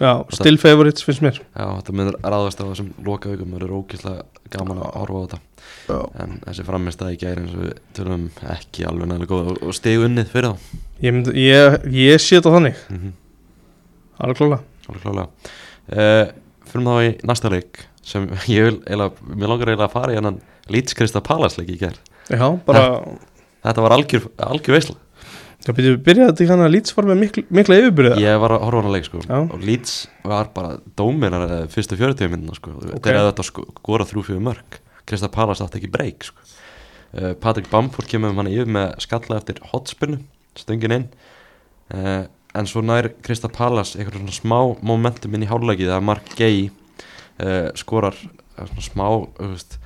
Já, still favorites finnst mér
Já, þetta myndir ráðast á þessum lokaugum það eru ógeðslega gaman að horfa á þetta
Já.
en þessi framist að ekki er eins og við tölum ekki alveg nægilega góð og, og stegu unnið fyrir þá
ég, mynd, ég, ég sé þetta þannig
mm -hmm.
alveg klála
alveg klálega uh, fyrir þá í næsta leik sem ég vil, eila, mér langar eiginlega að fara í hennan Lítskrista Palace leik í gerð
Já, bara,
Þetta var algjör, algjör veisla
Það byrjaði byrjaði þetta í þannig að Leeds var með mikla, mikla yfirbyrða
Ég var að horfa á hana leik sko
Já.
og Leeds var bara dóminar eða fyrstu 40 minna sko
Ok.
þeir hefðu þetta sko góra þrjú fyrir mörg Krista Palas átti ekki breyk sko uh, Patrik Bamford kemur hann yfir með skalla eftir hotspinnu, stöngin inn uh, en svo nær Krista Palas eitthvað svona smá momentum inn í hálfleikið að Mark Gay uh, skorar eh, svona smá þú veist,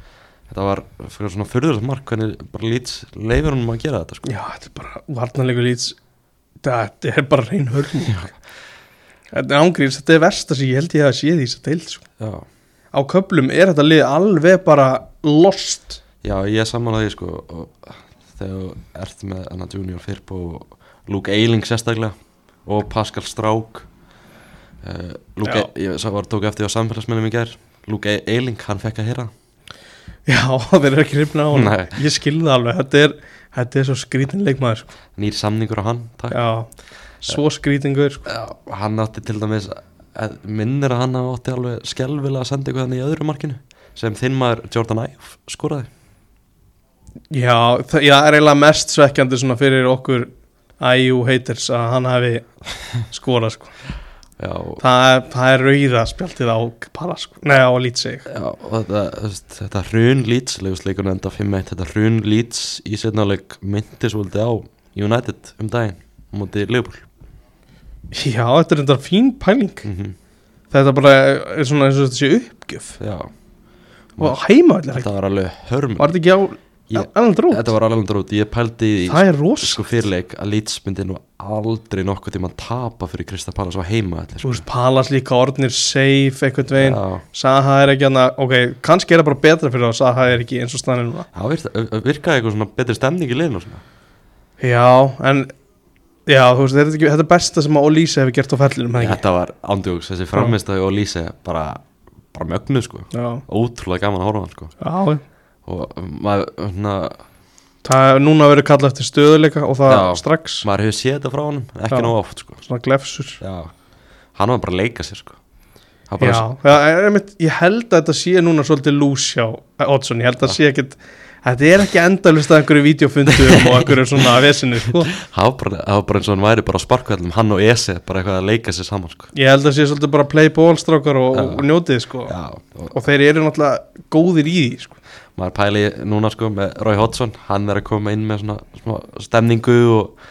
þetta var fyrir svona fyrðurlega mark hvernig bara Leeds leifir honum að gera þetta sko
Já, þetta er bara varnarleikur Leeds Þetta er bara reyn hörn Þetta er ángriðis, þetta er versta sem ég held ég að sé því þess að deild sko.
Já.
Á köplum er þetta lið alveg bara lost
Já, ég er sammála því sko og þegar þú ert með Anna Junior Firpo og Luke Eiling sérstaklega og Pascal Strák uh, Luke,
Já.
e ég sá var tók eftir á samfélagsmennum í gær Luke e Eiling, hann fekk að heyra
Já, þeir eru ekki hrifna á hann
Nei.
Ég skilði það alveg, þetta er, þetta er svo skrítin leikmaður sko.
nýr samningur á hann takk.
Já, svo skrítingur sko.
Já, hann átti til dæmis eh, minnir að hann átti alveg skelvilega að senda eitthvað hann í öðru markinu sem þinn maður Jordan Ive skoraði
Já, það já, það er eiginlega mest svekkjandi svona fyrir okkur IU haters að hann hafi skorað sko.
Já, og-
það, er- það er rauða spjaldið á Pala sko. Nei, á Lítsi
Já, og þetta, þú veist, þetta hrun Leeds leifusleikurinn enda 5-1, þetta hrun Leeds í setnáleik myndi svolítið á United um daginn á móti Liverpool
Já, þetta er þetta fín pæling
mm
Þetta bara er svona eins og þetta sé uppgjöf
Já,
Og heimaðlega ekki
þetta var alveg hörm
Var þetta ekki á
Ég-
annan drót?
Þetta var alveg drót, ég pældi í því
Það er ros
sko fyrirleik að Leeds myndi nú aldrei nokkuð tíma tapa fyrir Krista Pallas á heima sko.
Þú veist, Palas líka orðnir safe einhvern veginn
Já,
Saha er ekki hann ok, kannski er það bara betra fyrir það Saha er ekki eins og stannir núna
það virka- virkaði eitthvað svona betri stemning í liðinu og svona.
Já, en Já, þú veist, þetta er, ekki, þetta er besta sem að Olísa hefur gert á ferlinum, hefði
Þetta var andjóks, þessi framistæði og Lýse bara, bara mögnuð sko
ekki? Já,
Ótrúlega gaman að horfa á hann sko
já,
og um, maður, svona,
það er núna verið kallað eftir stöðuleika og það
Já.
strax,
maður hefur séð þetta frá honum en ekki
Já.
nóg oft sko
svona glefsur
já. hann var bara að leika sér sko hann bara,
Já, það er einmitt, ég held að þetta sé núna svolítið lús hjá eh, Oddsson, ég held að þetta sé ekkit þetta er ekki endalust að einhverju vídeofundum og einhverju svona vesinu, sko
hann var bara, hann var bara eins og hann væri bara á sparkveldum hann og Ese bara eitthvað að leika sér saman sko
ég held að sé svolítið bara play ball strákar og, og njótið, sko
já, og
og þeir eru náttúrulega góðir í því, sko
maður pæli núna sko með Roy Hodgson hann er að koma inn með svona, svona stemningu og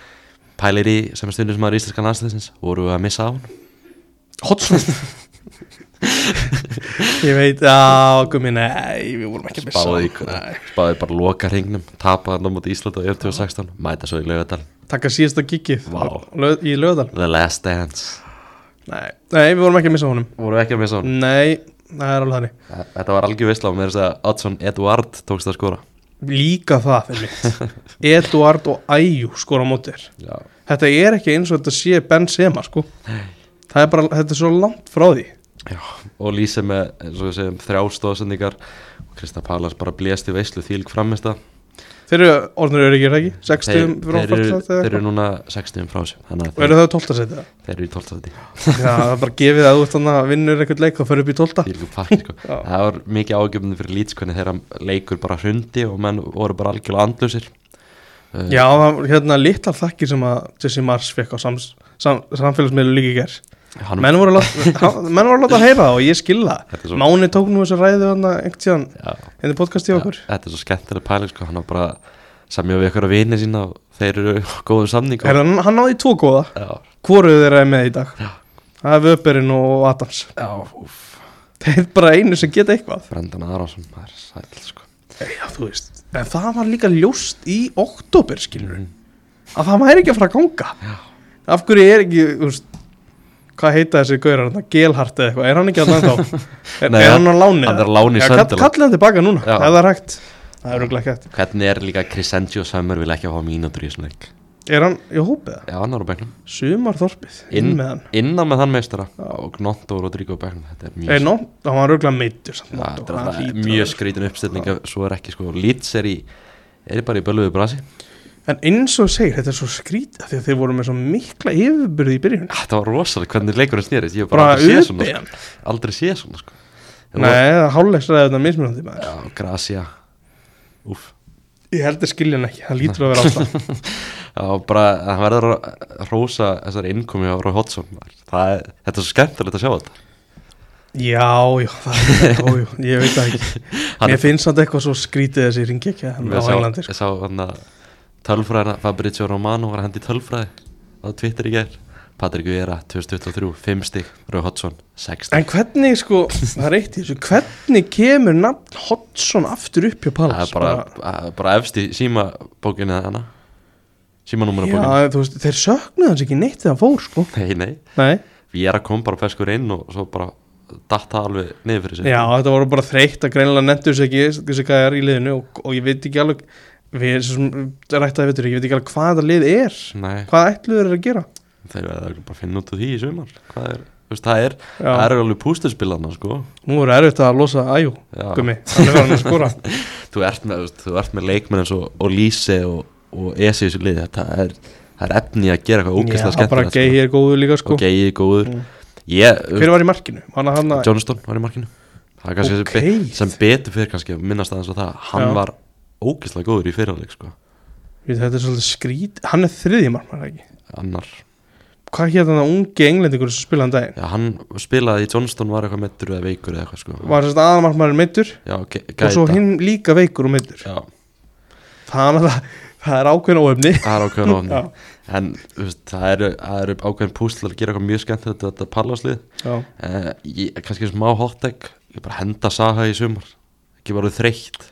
pælir í sem er stundin sem maður íslenskan landsliðsins voru við að missa á hann
Oddsson Ég veit, já, gummi, nei, við vorum ekki að missa
spáði,
hann. Nei.
spáði bara loka hringnum tapaði hann á móti Ísland á 2016 mæta svo í lögadal
Takka síðasta kikið
Vá.
lög, í löðal
The Last Dance
nei. nei, við vorum ekki að missa honum
voru ekki að missa á hann
Nei, það er alveg þannig
Þa- Þetta var algjör veistla og mér er að Oddsson Eduard tókst að skora
Líka það fyrir mitt Eduard og Æjú skora á móti þér
Já,
Þetta er ekki eins og þetta sé Benzema sko Það er bara, þetta er svo langt frá því
og lýsi með eins og við segjum þrjá stóðsendingar og Krista Pallas bara blést í veistlu þýlg framist það
Þeir eru orðnir öryggir ekki 60
þeir,
frá
þeir, eru-
fallsæti
þeir
eða
eru
eitthvað?
núna 60 frá sér þannig
Og
að
eru
þeir,
það 12 setið það?
þeir eru í 12. sæti.
Já, það er bara gefið að þú ert þannig að vinnur einhvern leik og fyrir upp í 12
Þvílíkur pakki, sko.
Já.
það var mikið ágjöfnum fyrir Leeds hvernig þeirra leikur bara hrundi og menn voru bara algjörlega andlausir Uh,
Já, það var hérna litlar þakkir sem að Jesse Mars fekk á sams, sam, samfélagsmiðlu líka í ger
hann,
menn voru að láta- hann- menn voru að láta að heyra það og ég skilða
Þetta er svo-
Máni tók nú þessu ræðu hann einhvern tíðan
já,
henni podcast í
já,
okkur
þetta er svo skemmtileg pæling sko. hann var bara samjá við ykkur að vini sína og þeir eru á góðum samning
Herra, hann- hann náði í tvo góða,
já,
hvoruð þeirra er með í dag það er Vöberinn og Adams
já, úf
þeir bara einu sem geta eitthvað
Brendan Aronsson, það er sæl sko.
Eh, Já, þú veist, en það var líka ljóst í oktober, skilur að það væri ekki að fara að ganga
Já.
af hverju er ekki, þú veist hvað heita þessi gaurar, hann Gelhart eða eitthvað, er hann ekki að landa á er,
Nei,
er hann á láni?
hann
eða?
er á láni í
Já,
Sunderland.
kall- Kallið hann tilbaka núna,
Já.
ef það er hægt það er auðvitað ekki hægt
Hvernig er líka Crescentio Summer vil ekki hafa mínútur í þessum leik?
Er hann í hópið það?
Já, hann er á bæknum
Sumarþorpið, inn,
Inn.
með hann
Innan með þann meistara og Gnotto og Rodrigo á bæknum Þetta er mjög,
Ei, nó, hann Eh, var auðvitað meittur samt,
ja,
Notto,
þetta er
hann
alltaf
hlýtur að
mjög
vera.
skrítin uppstilling ef Svo er ekki sko, Leeds er í Er í bara í bölvuðu brasi
En eins og þú segir, þetta er svo skrítið af því að þeir voru með svo mikla yfirbyrði í byrjun
Þetta var rosalega, hvernig leikurinn snýrist Ég hef bara
Bara
aldrei séð
uppi
svona sko. Aldrei séð svona
hann
sko.
Nei, það hálegsræði þetta mismunandi maður
Já, Gracia Úf
Ég held að skilja hann ekki, það lítur að vera ástæð
Já, bara, það verður að rósa þessari innkomi á Rói Hotsson það, er- Þetta er svo skemmtilegt að sjá þetta
Já, já, það, já, já, ég veit það ekki
Hann
Mér finnst þetta eitthvað svo skrítið þessi ringi ekki á
Ég sá-
Englandi sko.
Ég sá hann að tölfræðina Fabrizio Romano var að hendi tölfræði á Twitter í gær Patrik Vera, 2023, 5 stík Rói Hotsson, 6 stík
En hvernig sko, það er eitt í þessu Hvernig kemur nafn Hodson aftur upp hjá
Það
Pallas?
er bara, það er bara efst í símabókinu hana Símanúmera bókinu
Já, þú veist, þeir söknuðu hans ekki neitt þegar hann fór sko
Nei, nei,
Nei
Vera kom bara feskur inn og svo bara datt það alveg niður fyrir sig
Já, þetta voru bara þreytt að greinilega nettu sig ekki þessi gæjar í liðinu og, og ég veit ekki alveg við sem rættaði veitur ekki, ég veit ekki alveg hvað þetta lið er
Nei,
hvað ætluður er að gera
þeir verða bara að finna út úr því í sumar Hvað er, þú veist, það er Það
Já,
eru alveg pústuspillana sko
nú voru erfitt að losa æjú,
Já.
gummi, hann er farin að skora
Þú ert með, þú veist, þú ert með leikmenn eins og, og Lise og, og Esi í þessu liði Þetta er, það er efni í að gera eitthvað ógæslega
Já, bara
skemmtilegt
gei er góður líka
sko.
sko
Og gei er góður
Mm.
Ég,
Hver var í markinu? Hann að hann að
Johnston var í markinu Það er kannski okay.
Ókei.
sem, be, sem betur fyrir kannski að minnast aðeins á það Hann
Já.
var ógæslega góður í fyrirleik sko
Við þetta er svolítið skrít, hann er þriðji markmann er það ekki
Annar,
Hvað hétt hann að ungi englendingur sem spilaði hann daginn?
já hann spilaði í Johnston var eitthvað meittur eða veikur eða eitthvað sko
Var sérst aðalmarkmann meittur
Já, ge-
og svo
gæta
hinn líka veikur og meittur
Já,
Það, er náttúrulega- það er ákveðin óefni
það er ákveðan ofni
Já.
En þú veist, það eru, það eru ákveðin púsl að gera eitthvað mjög skemmt þetta pallaslið
Já
Uh, ég, kannski smá hottek ég bara henda Saha í sumar ekki bara þreytt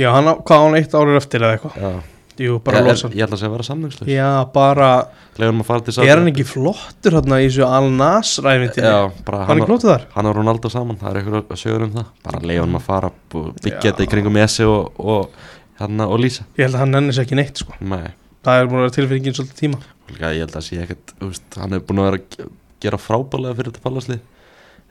Já, hann, á- hvað á hann eitt árið eftir eða eitthvað
já.
Jú, bara
ég,
losa hann
ég ætla að segja að vera samlingslöf
Já, bara,
leifur maður að fara til Saha
er hann ekki flottur hann í þessu Al-Nas-ræfinti
já, bara
Hann
hann,
er
og-
klótið þar
hann og Ronaldo saman það er eitthvað að sögur um það bara leifur maður að fara og byggja
Já.
þetta í kringum Messi og, og, hérna, og Lísa
Ég held að hann nenni sér ekki neitt, sko
Nei,
Það er búin að vera tilfinningin svolítið tíma
líka, ég held að sé ekkert þú veist, hann er búin að vera að ge- gera frábælega fyrir þetta pallaslið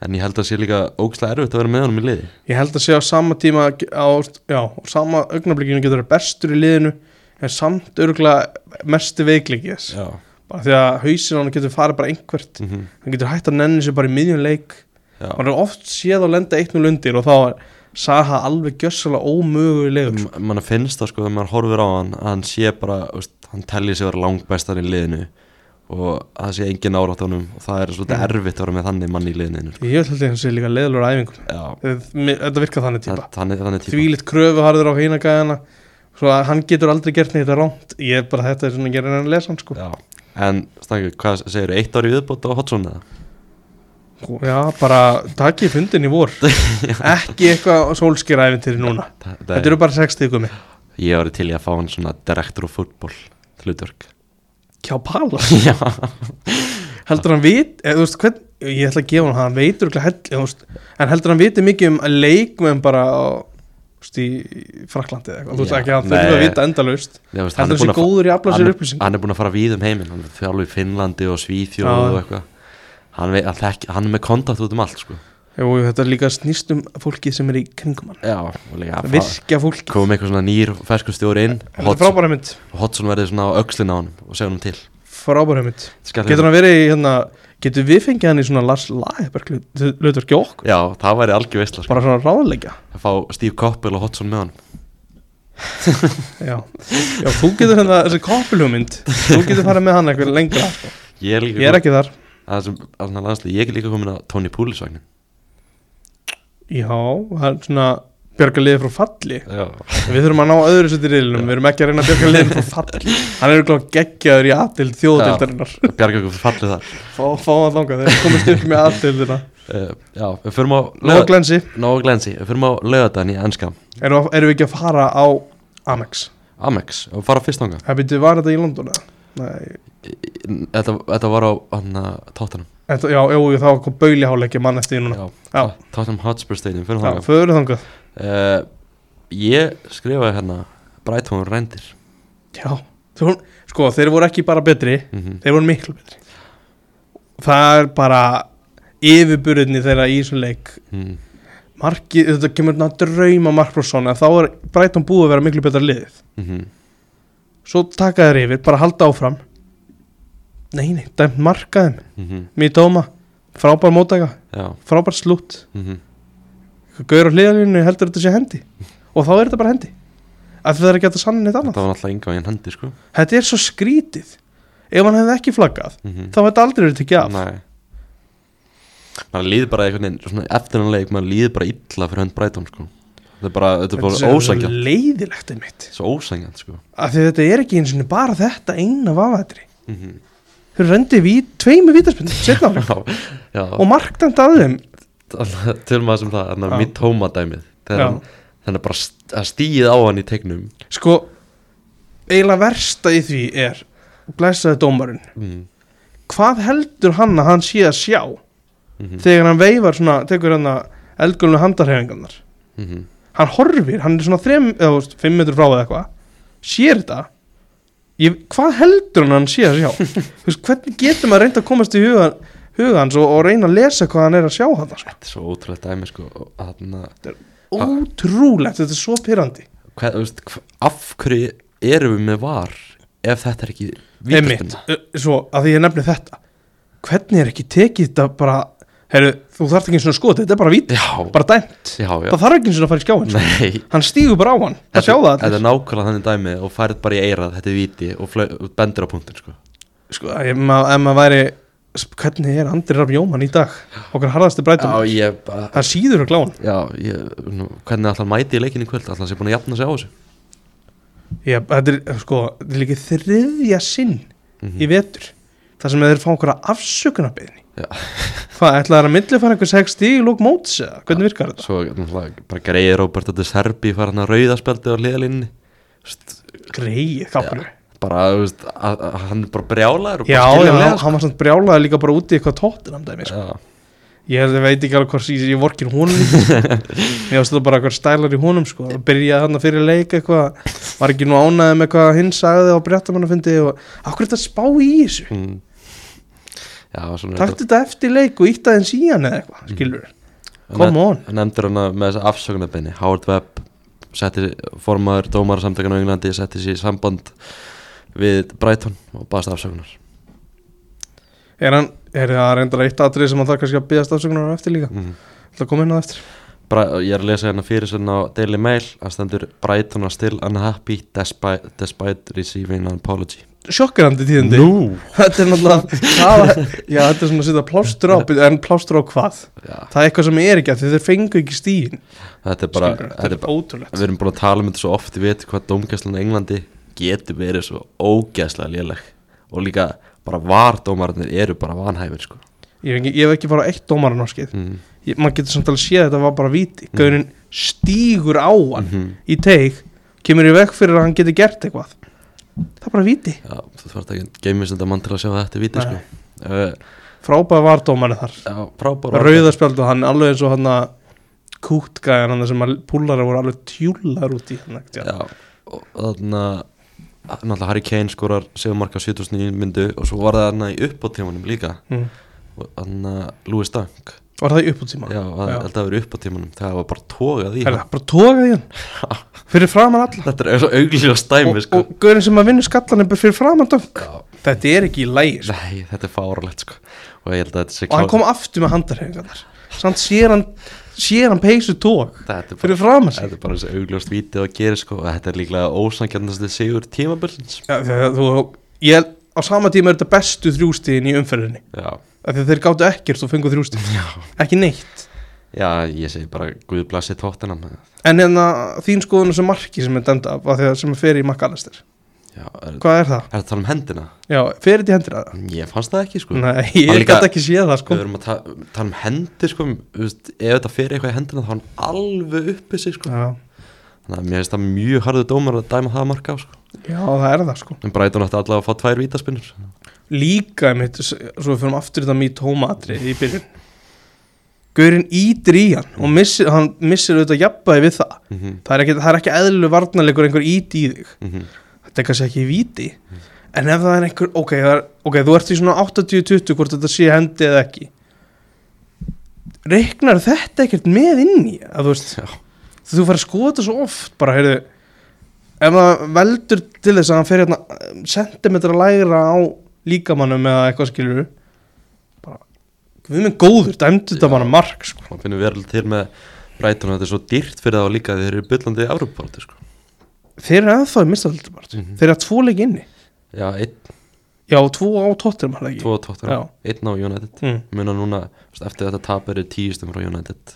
en ég held að sé líka ógslag erfitt að vera með honum í liði
Ég held að sé á sama tíma á, Já, á sama augnablikinu getur það bestur í liðinu En samt örgulega mestu veiklingi þess
já,
Bara því að hausinn á hann getur farið bara einhvert
mm
Hann getur hætt að nenni sér bara í miðjum leik
já.
Hann er oft séð að lenda eitt nú lundir Og þá er Saha alveg gjössalega ómögulegur sko.
M- mann finnst það sko þegar maður horfir á hann að hann sé bara, veist, hann telli sig vera langbæstar í liðinu og það sé engin árátt á honum og það er svolítið
Mm.
erfitt að vera með þannig mann í liðinu sko.
Ég held að hann sé líka leiðlur æfingum
já,
Þetta virka þannig típa
það- þannig, þannig típa
Þvílitt kröfu harður á hýna gæðana Svo að hann getur aldrei gert neitt rámt Ég er bara þetta er svona gerin en að lesa hann sko
já. en stangur, hvað segir eitt ári viðbót á Hotsson eða?
Já, bara takk ég fundin í vor Ekki eitthvað sólskiræfintir núna
Það- það
Þetta eru bara sex tíku mig
ég var til í að fá hann svona direktor og fútból hlutverk
Kjá pala Heldur hann vit eða, þú veist, hvern, Ég ætla að gefa hann Hann veitur ekki held eða, þú veist, En heldur hann viti mikið um leikmenn bara á, þú veist, í Fraklandi eða eitthvað Þú veist
Já,
ekki að hann þurfa að
nei.
vita endalaust
Já, veist,
Heldur hann sé
búinn að fa-
góður í að afla sér
hann-
upplýsing
hann er búin að fara víð um heiminn hann er þjálfur í Finnlandi og Svíþjóð
Já.
og eitthvað hann, vei- hann, þekki- hann er með kontakt út um allt sko.
Jú, jú, þetta er líka snýst um fólkið sem er í kringum hann
já, og líka að fa-
Virkja fólk
komum eitthvað svona nýr ferskustjóri inn
Þetta er
Hodson,
frábæra mynd
Hodson verði svona á öxlin á hann og segja hann til
Frábæra mynd
Skal
Getur hann verið í hérna Getur við fengið hann í svona Lars Lagerberg Lutverki okkur
já, það væri algjör veistla sko.
Bara svona ráðleggja
að fá Steve Coppel og Hodson með hann
Já, Já þú getur hérna þessi koppilhugmynd Þú getur farið með hann eitthvað lengra sko.
ég er líka
Ég er ekki þar
að sem, að svona landslið, ég er líka komin á Tony Poulis vagnin
Já, það er svona Björga liðið frá falli
já,
Við þurfum að ná öðru sér til riðlunum Við erum ekki að reyna að björga liðið frá falli Hann er gláð geggjaður í aðdild þjóðatildarinnar
bjarga ykkur fallið þar
Fá, fá hann þangað, þeir komist upp með aðdildina
uh, já, við förum á
Lóa Glensi
Nóa Glensi, við förum á lögadaginn í ennska
Erum erum við ekki að fara á Amex?
Amex, og fara fyrst ánga
Það byrju, var þetta í London? eða? Nei,
þetta, þetta var á hann eh, Tottenham
þetta, já, jú, jú, það var bauliháleikja mann eftir því núna
já,
Já.
Tottenham Hotspur Stadium, förum
Já,
þangað
förum þangað
uh, ég skrifaði hérna Brighton Rendir
Já, þú, sko, þeir voru ekki bara betri
mm -hmm.
Þeir voru miklu betri Það er bara yfirburðinni þeirra í þessum leik
Mm.
Marki, þetta kemur ná drauma Mark Brosson að þá er Brighton búið að vera miklu betra liðið
mhm.
Svo taka þeir yfir, bara halda áfram Nei, nei, dæmt markaðum
Mhm.
Mér dóma, frábær mótaka,
Já,
frábær slútt
mhm.
Gaur á hliðalínu heldur þetta sé hendi Og þá er þetta bara hendi að það er ekki hægt að sanna neitt annað
Þetta var náttúrulega yngan í hendi sko
þetta er svo skrítið ef hann hefði ekki flaggað
mm -hmm.
þá hefði þetta aldrei verið tekið af
Nei maður líður bara einhvern veginn svona eftir hann leik maður líður bara illa fyrir hönd Brighton sko þetta er bara, þetta er
þetta
bara
er svo
ósækjant
leiðilegt einmitt
svo ósækjant sko
af því þetta er ekki eins og bara þetta eina vafaðri
mm
Mhm. þau rendi við tveimu vítaspindu setna álega
já,
og markdæmt að þeim
til maður sem það þannig
Já.
að mitt hómadæmið
Já.
þannig að bara st- að stíð á hann í tegnum
sko eiginlega versta í því er blæsaði dómarinn
mm.
hvað heldur hann að hann sé að sjá
Mhm.
þegar hann veifar svona tekur hann að eldgölnu handarhefingarnar
Mm
hann horfir, hann er svona þrem, eða, þú veist, fimm metrur frá eða eitthvað sér þetta ég, hvað heldur hann að hann sé að sjá Þú veist, hvernig getur maður reynd að komast í hugan, hugans og, og reyna að lesa hvað hann er að sjá hann sko?
þetta er svo ótrúlega dæmi sko og þarna,
ótrúlegt, þetta er svo pyrrandi
hvað, þú veist, hva, af hverju erum við með var ef þetta er ekki
Einmitt,
vítaspyrna?
uh, svo að því ég nefni þetta hvernig er ekki tekið þetta bara heru, þú þarft ekki einu sinni að skoða þetta, þetta er bara vít
já,
bara dæmt,
já, já
það þarf ekki eins og að fara í skjáin sko.
nei
hann stígur bara á hann, það sjá það
Þetta er
allir
nákvæmlega þannig dæmi og færið bara í eirað, þetta er viti og, flau- og bendur á punktin sko.
sko, ef maður ef maður væri sp- hvernig er Andri Rafn Jóman í dag okkar harðasti brætum,
Já, ég bara
það síður að glána
Já, ég, nú, hvernig alltaf mæti í leikinu í kvöld alltaf sé búin að jafna sig á þessu
ég, þetta er sko, þetta er líka þriðja sinn í vetur þar sem þeir fá einhverja afsökunarbeðni
Mhm. Já.
hvað, ætlaði að millifæra einhver 6 stíg í lók móts eða, hvernig virkar þetta?
Svo náttúrulega, bara greiði Róbert að Serbi fara hann að rauðaspeldi á liðalinni
greið, kapur
bara, þú veist, að, að, hann er bara brjálaður og
Já,
bara sko.
já,
skiljanlega,
hann, hann var svona brjálaði líka bara úti í eitthvað tóttinam dæmi sko.
sko.
Ég held- veit ekki alveg hvort ég, ég vorkin honum Mér ástu það bara eitthvað stælar í honum sko. Það Byrjaði hann fyrir leik eitthvað Var ekki nú ánaði með hvað hinn sagði og brjáttamannafundi og Akkur þetta spá í þessu
Já, mm. já svona
Taktu þetta eftir leik og ítta þeim síðan eða eitthvað Skilur, come on
Hann nefndur hann Mm. að- með þessa afsökunarbeini Howard Webb setti, formaður dómar samtökan á Englandi setti sér í samband við Brighton og baðast afsökunar
Er hann, er það reyndar eitt atrið sem hann þarf kannski að byggast afsökunar á eftir líka
mm.
Það kom inn á það eftir
Bra, ég er að lesa hérna fyrir sinna á Daily Mail að stendur Brighton are still unhappy despite, despite receiving an apology
Sjokkerandi tíðindi Þetta er náttúrulega það, Já, þetta er svona að setja plástur á En plástur á hvað?
Já,
það er eitthvað sem er ekki af því þeir fengu ekki stíðin
þetta er bara, þetta
þetta
er
er
bara
ótrúlegt
við erum búin að tala um þetta svo oft við veitum hvað dómgæslan í Englandi getur verið svo ógæslega léleg og líka bara vardómarnir eru bara vanhæfir sko
ég hef ekki, ég hef ekki fara á eitt dómar á norskið
mm.
ég, maður getur samt alveg séð að þetta var bara víti gaunin stígur á hann
Mhm.
í teig, kemur í veg fyrir að hann getur gert eitthvað það er bara víti
Já, þú þarf ekki að geimist þetta mann til að sjá að þetta er viti sko uh,
frábæða var dómarinn þar
Já, frábæra
rauðarspjald og hann alveg eins og hann að kútgæðan hann sem að púlara voru alveg tjúlar út í hann ekkert, já.
Já, og þarna náttúrulega Harry Kane skorar 7 marka 79 myndu og svo var það þarna í uppáttímanum líka
Mm.
og þarna Louis Dunk
var það í uppúttíma
já, það
Já.
held að vera uppáttímanum það var bara tókað í hann
bara tókaði hann fyrir framan alla
þetta er svo augljós dæmi
og,
sko
og gaurin sem að vinna skallan er bara fyrir framan döng
Já,
þetta er ekki í lægi sko.
nei, þetta er fáralegt sko og ég held að þetta sé
og hann
klár-
kom aftur með handarhefingarnar samt sér hann sér hann peysu tók
þetta er bara,
fyrir fram að sig
þetta er bara þessi augljóst vítið að gera sko og þetta er líklega ósankjarnasti sigur tímabilsins
ja, þegar þú, ég, á sama tíma er þetta bestu þrjústíðin í umferðinni
já,
af því að þeir gáttu ekkert og fengu þrjústíðin ekki neitt
já, ég segi bara guðblassi tóttinam
en en þín skoðun sem marki sem er dæmda af því að sem fer í makkalistir
já, er, er
hvað er það?
þetta tala um hendina?
já, fer þetta í hendur að það?
ég fannst það ekki sko
nei, ég
líka-
gæti ekki séð það sko
við erum að ta tala um hendi sko, þú veist, ef þetta fyrir eitthvað í hendina þá er hann alveg uppið sig sko.
já,
þannig að mér finnst það mjög harðu dómar að dæma það marka á sko.
já, það er það sko
en Brighton ætti allavega að fá tvær vítaspinnur
líka mitt, svo við fyrir aftur í þetta mjög tómatri í byrjun Gaurinn ítir í hann og missir, hann missir auðvitað jafnbæði við það
mm -hmm.
það er ekki, það er ekki eðlu varnarleikur einhver íti í þig
mm -hmm.
þetta er kannski ekki víti en ef það er einhver, ok, það er, ok þú ert í svona 80-20 hvort þetta sé hendi eða ekki reiknar þetta ekkert með inn í að þú veist
Já.
þú fara að skoða þetta svo oft bara, heyrðu ef það veldur til þess að hann fer hérna um, sentimetra lægra á líkamannum eða eitthvað skilur bara, við minn góður, dæmdu þetta
Já.
bara mark sko.
þá finnum við alveg til með Brighton að þetta er svo dýrt fyrir þá líka þegar þeir eru byllandi Evroparátti sko.
þeir eru ennþá í mistahaldur bara
Mhm.
þeir eru að tvo leik inni
Já, einn,
já, tvo á tóttir maður ekki
tvo og tóttir
Já.
Einn á United
mm.
Muna núna, þú veist, eftir þetta tap eru tíustum frá United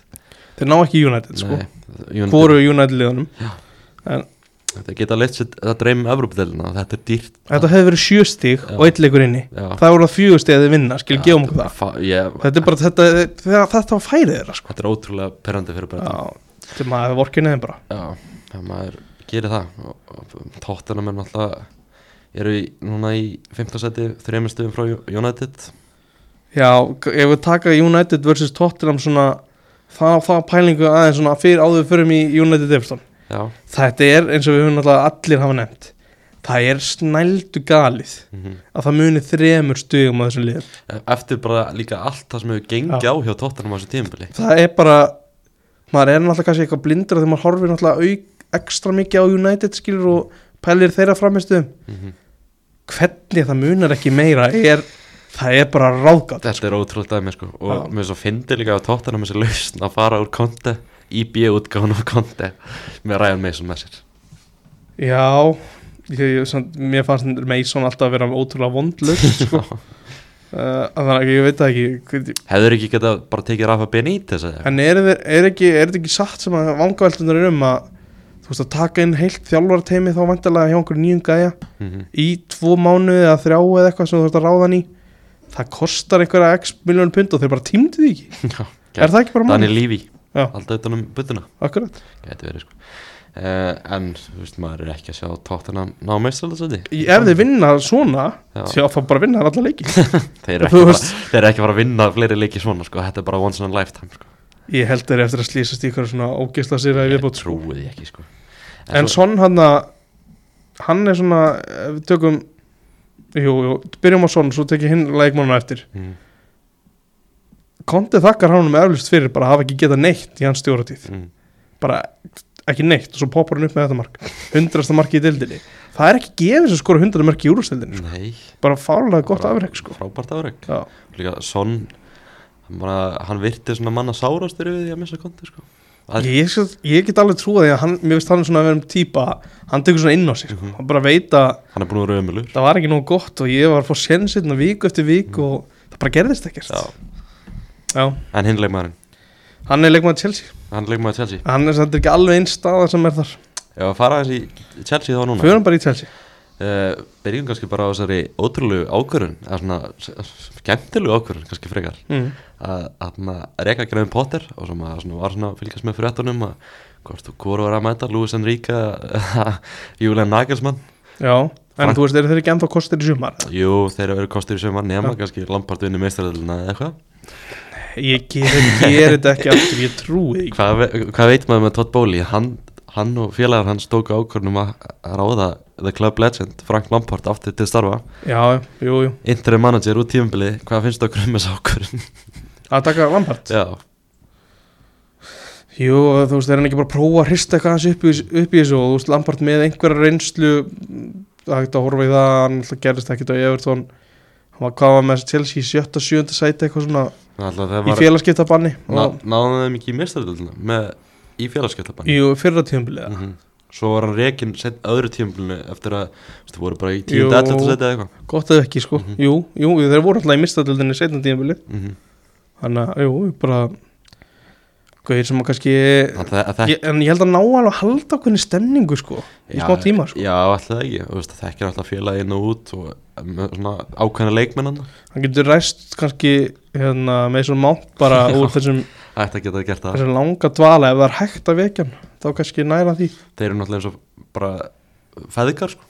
þeir ná ekki United sko
Nei, United
hvoru United liðanum
Þetta geta leitt sér, þetta dreym Evrópudelina Þetta er dýrt
þetta hefur verið sjö stig
Já.
og eitt leikur inni
Já,
það voru það fjögur stig að þeir vinna skil,
Já,
gefum okkur það
fa- Ég,
þetta er bara þetta, þetta, þetta var færið þeirra sko
þetta er ótrúlega perrandi fyrir bara
já, til maður hefur vorkið neðin bara
Já, ef maður gerir það og- og Tottenham er náttúrulega eru í, núna í 15 seti þrejum stöðum frá Ju- United
já, k- ef við taka United vs Tottenham svona það, það pælingu aðeins svona fyrir áður fyrir mig í United Everton
Já,
þetta er eins og við höfum náttúrulega allir hafa nefnt það er snældu galið
mm
að það muni þremur stugum á þessum liðum
eftir bara líka allt það sem hefur gengið
Já.
á hjá Tottenham á þessu tímabili
það er bara maður er náttúrulega kannski eitthvað blindur þegar maður horfir náttúrulega auk, ekstra mikið á United skilur og pælir þeirra framistuðum
mm
hvernig það munar ekki meira er, það er bara ráðgátt
Þetta er ótrúlega dæmi sko
Já.
og mér svo fyndi líka að Tottenham þessi lausn að fara úr Conte í B-útgáðan af Conte með Ryan Mason með sér
já ég, ég, samt, mér fannst Mason alltaf að vera ótrúlega vondlust sko. uh, þannig að ég veit það ekki hvernig-
Hefur ekki geta bara tekið Rafa Benítez eða?
En er, þeir, er, ekki, er þetta ekki satt sem að vangaveldunar er um að þú veist að taka inn heilt þjálfarteimi þá vantarlega hjá einhverjum nýjum gæja
Mm -hmm.
í tvo mánuði eða þrjá eða eitthvað sem þú þarfst að ráða hann í það kostar einhverja x miljón pund og þeir bara tímdu því ekki
Já.
er það ekki bara
Daniel
mánuð?
Levy,
Já.
alltaf utan um budduna
Akkurat
Gæti verið sko uh, En, þú veist, maður er ekki að sjá Tottenham ná meistarlega
Í- ef þeir vinna svona
þeir
þá fá bara að vinna þar alla leiki
eru ekki,
Þú
bara,
veist.
þeir eru ekki að fara að vinna fleiri leiki svona sko, þetta er bara once in a lifetime sko.
ég held þeir eftir að slýsast í einhverju svona ógisla sér að
Ég
viðbót sko.
trúi því ekki sko.
en son hann að hann er svona ef við tökum jú, jú, byrjum á son svo tekið hinn leikmannum eftir
mm,
Konti þakkar hánum eflust fyrir bara að hafa ekki getað neitt í hans stjóratíð
mm,
bara ekki neitt og svo poppar hann upp með þetta mark hundrasta marki í dildinni það er ekki gefið sem skora hundrasta marki í úrstildinni sko.
Nei
bara fárlega gott afreg sko.
Frábært afreg
Já.
Líka, Son, hann, bara, hann virti svona manna sárastur við því að missa konti sko. Að-
ég, ég, ég get alveg trúið því að hann, mér finnst hann svona að vera um típa hann tekur svona inn á sig sko. hann bara veit að
Hann er búin að vera ömulur
það var ekki nóg gott og ég var að fá sénsinn viku eftir viku og það bara gerðist ekkert Já.
En hinn leikmaðurinn,
hann er leikmaður Chelsea
hann er leikmaður Chelsea
hann er samt ekki alveg einn staða sem er þar
Ef að fara aðeins í Chelsea þá núna
fyrir bara í Chelsea
uh, Byrjum kannski bara á þessari ótrúlegu ákvörun eða svona skemmtilegu ákvörun kannski frekar
mm.
að, að maður reyka Graham Potter og sem að svona var svona að fylgjast með fréttunum að hvort þú hvort var að mæta Lewis Enrique eða Julian Nagelsmann
Já, en
Frank-
þú veist, eru þeir ekki ennþá kostir í sumar?
Jú, þeir eru kostur í sömur nema
Já.
kannski Lampard vinni meistaröðluna eða eitthvað
Ég gerir ger þetta ekki aftur, ég trúi ekki
Hvað ve- Hvað veit maður með Todd Bowley? Hann, hann og félagar hans tóku ákvörnum að að ráða The Club Legend Frank Lampard aftur til starfa
Já, jú, jú,
Interim manager út tíumbili, hvað finnst okkur um þessu ákvörn?
að taka Lampard
Já,
Jú, þú veist, þeir eru ekki bara að prófa að hrista eitthvað hans upp í, upp í þessu og þú veist, Lampard með einhverja reynslu það er ekkert að horfa í það, hann alltaf gerðist ekkert á Everton hann var hvað var með Chelsea í sjötta, sjönda sæti eitthvað svona
alltaf það
í
var
félagskiptabanni
ná,
og
Náðum þeim ekki í meistaröðluna með í félagskeptabann
í fyrra tíðumbilið
mm Svo var hann rekin sett öðru tímblinu eftir að þú voru bara í
Jú.
10. 11. setja eða eitthvað
gott eða ekki, sko,
Mhm.
jú, jú, þeir voru alltaf í mistadildinni setna tíðumbilið,
mm -hmm.
þannig að, jú, bara gauðir sem að kannski
Það
ég, en ég held að ná alveg að halda okkur stemningu sko, í smá tíma sko.
Já, alltaf ekki, þú veist, það þekkir alltaf félaginn og út og með svona ákveðna leikmennana
hann getur ræst kannski hérna, með svona mátt bara
Já.
úr þessum,
Ætti að geta gert það
þessum langa dvala ef það er hægt að vekja hann, þá kannski næra því
Þeir eru náttúrulega eins og bara feðgar sko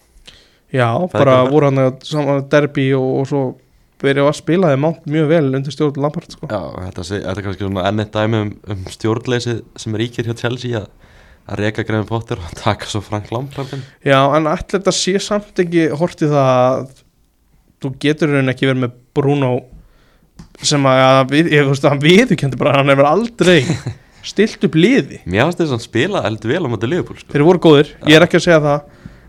já,
er
bara
gaman.
voru hann að- saman derbi og, og svo verið að spilaði mátt mjög vel undir stjórn Lampard sko.
Já, þetta, sé- þetta er kannski svona enn eitt dæmi um, um stjórnleysi sem ríkir hjá Chelsea að, að reka Grefin Potter og taka svo Frank Lampard inn.
já, en allir þetta sé samt ekki hortið það að þú getur í raun ekki verið með Bruno sem að, að við, ég, þú veist, hann viðurkendi bara að hann hefur aldrei stilt upp liði
Mér finnst þess að spila eldur vel á móti Liverpool sko
þeir voru góðir, ég er ekki að segja það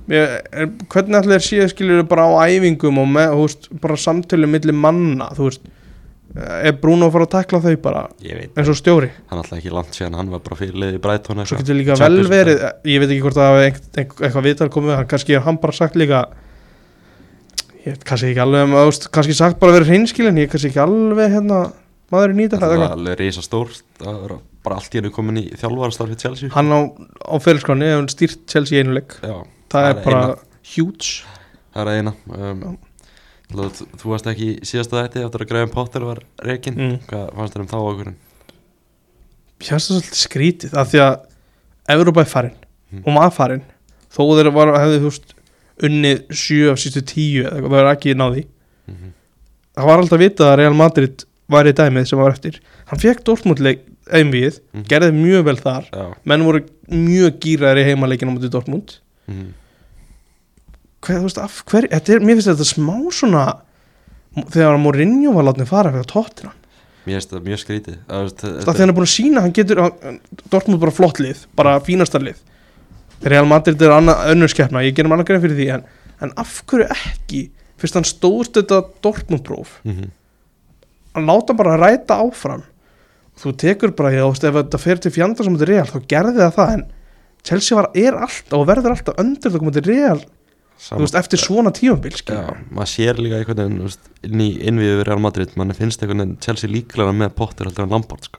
Mér, er, hvernig allir séu skilur bara á æfingum og með, þú veist, bara samtölu milli manna, þú veist er Bruno að fara að takla þau bara
ég veit,
eins og stjóri
hann alltaf ekki langt síðan hann var bara fyrir liðið Breitón
svo getur líka vel verið, ég veit ekki hvort það hafi einhver- einhver- eitthvað viðtal komið við hann, kannski er hann bara sagt líka ég veit kannski ekki alveg um, ást, kannski sagt bara verið hreinskilin, ég er kannski ekki alveg hérna, maðurinn í þetta
það var
eitthvað.
alveg reysa stórt bara allt í hennu komin í þjálfarastarfið Chelsea
hann á, á fyrirskráni hefur hann stýrt Chelsea í einu leik,
já,
það er bara
eina,
huge,
það er eina um, þú, þú varst ekki í síðasta þætti eftir að Graham Potter var reikinn
Mm.
hvað fannst þér um þá okkur
hérst það svolítið skrítið af því að Evrópa er farin
Mm.
og maður farin, þó þeir var, hefði þú veist, unnið 7 af sístu 10 eða eitthvað, það er ekki náði
mm -hmm.
það var alltaf vitað að Real Madrid var í dæmið sem var eftir hann fekk Dortmund-leik einvið,
Mhm.
gerði mjög vel þar
já,
menn voru mjög gýraðir í heimaleikinu á móti Dortmund
mm -hmm.
hver, þú veist, af hver, þetta er, mér finnst þetta smá svona þegar Mourinho var látni fara fyrir tóttina
mér finnst það mjög skrítið Það, þú veist,
það
þetta-
þegar hann er búin að sína, hann getur hann, Dortmund bara flott lið, bara
Mhm.
fínasta lið Real Madrid er anna, önnur skeppna ég gerum annar grein fyrir því en, en af hverju ekki, fyrst hann stóðst þetta Dortmund próf
Mhm.
að láta bara að ræta áfram þú tekur bara, ég ást ef þetta fer til fjandar sem þetta er real, þá gerði það það en Chelsea var, er alltaf og verður alltaf öndur það komið real, þú
Samt-
veist, eftir svona tífambil
Já, maður sér líka einhvern veginn þú veist, inn í innviðu við Real Madrid mann finnst einhvern veginn Chelsea líklega með Potter heldur en Lampard sko.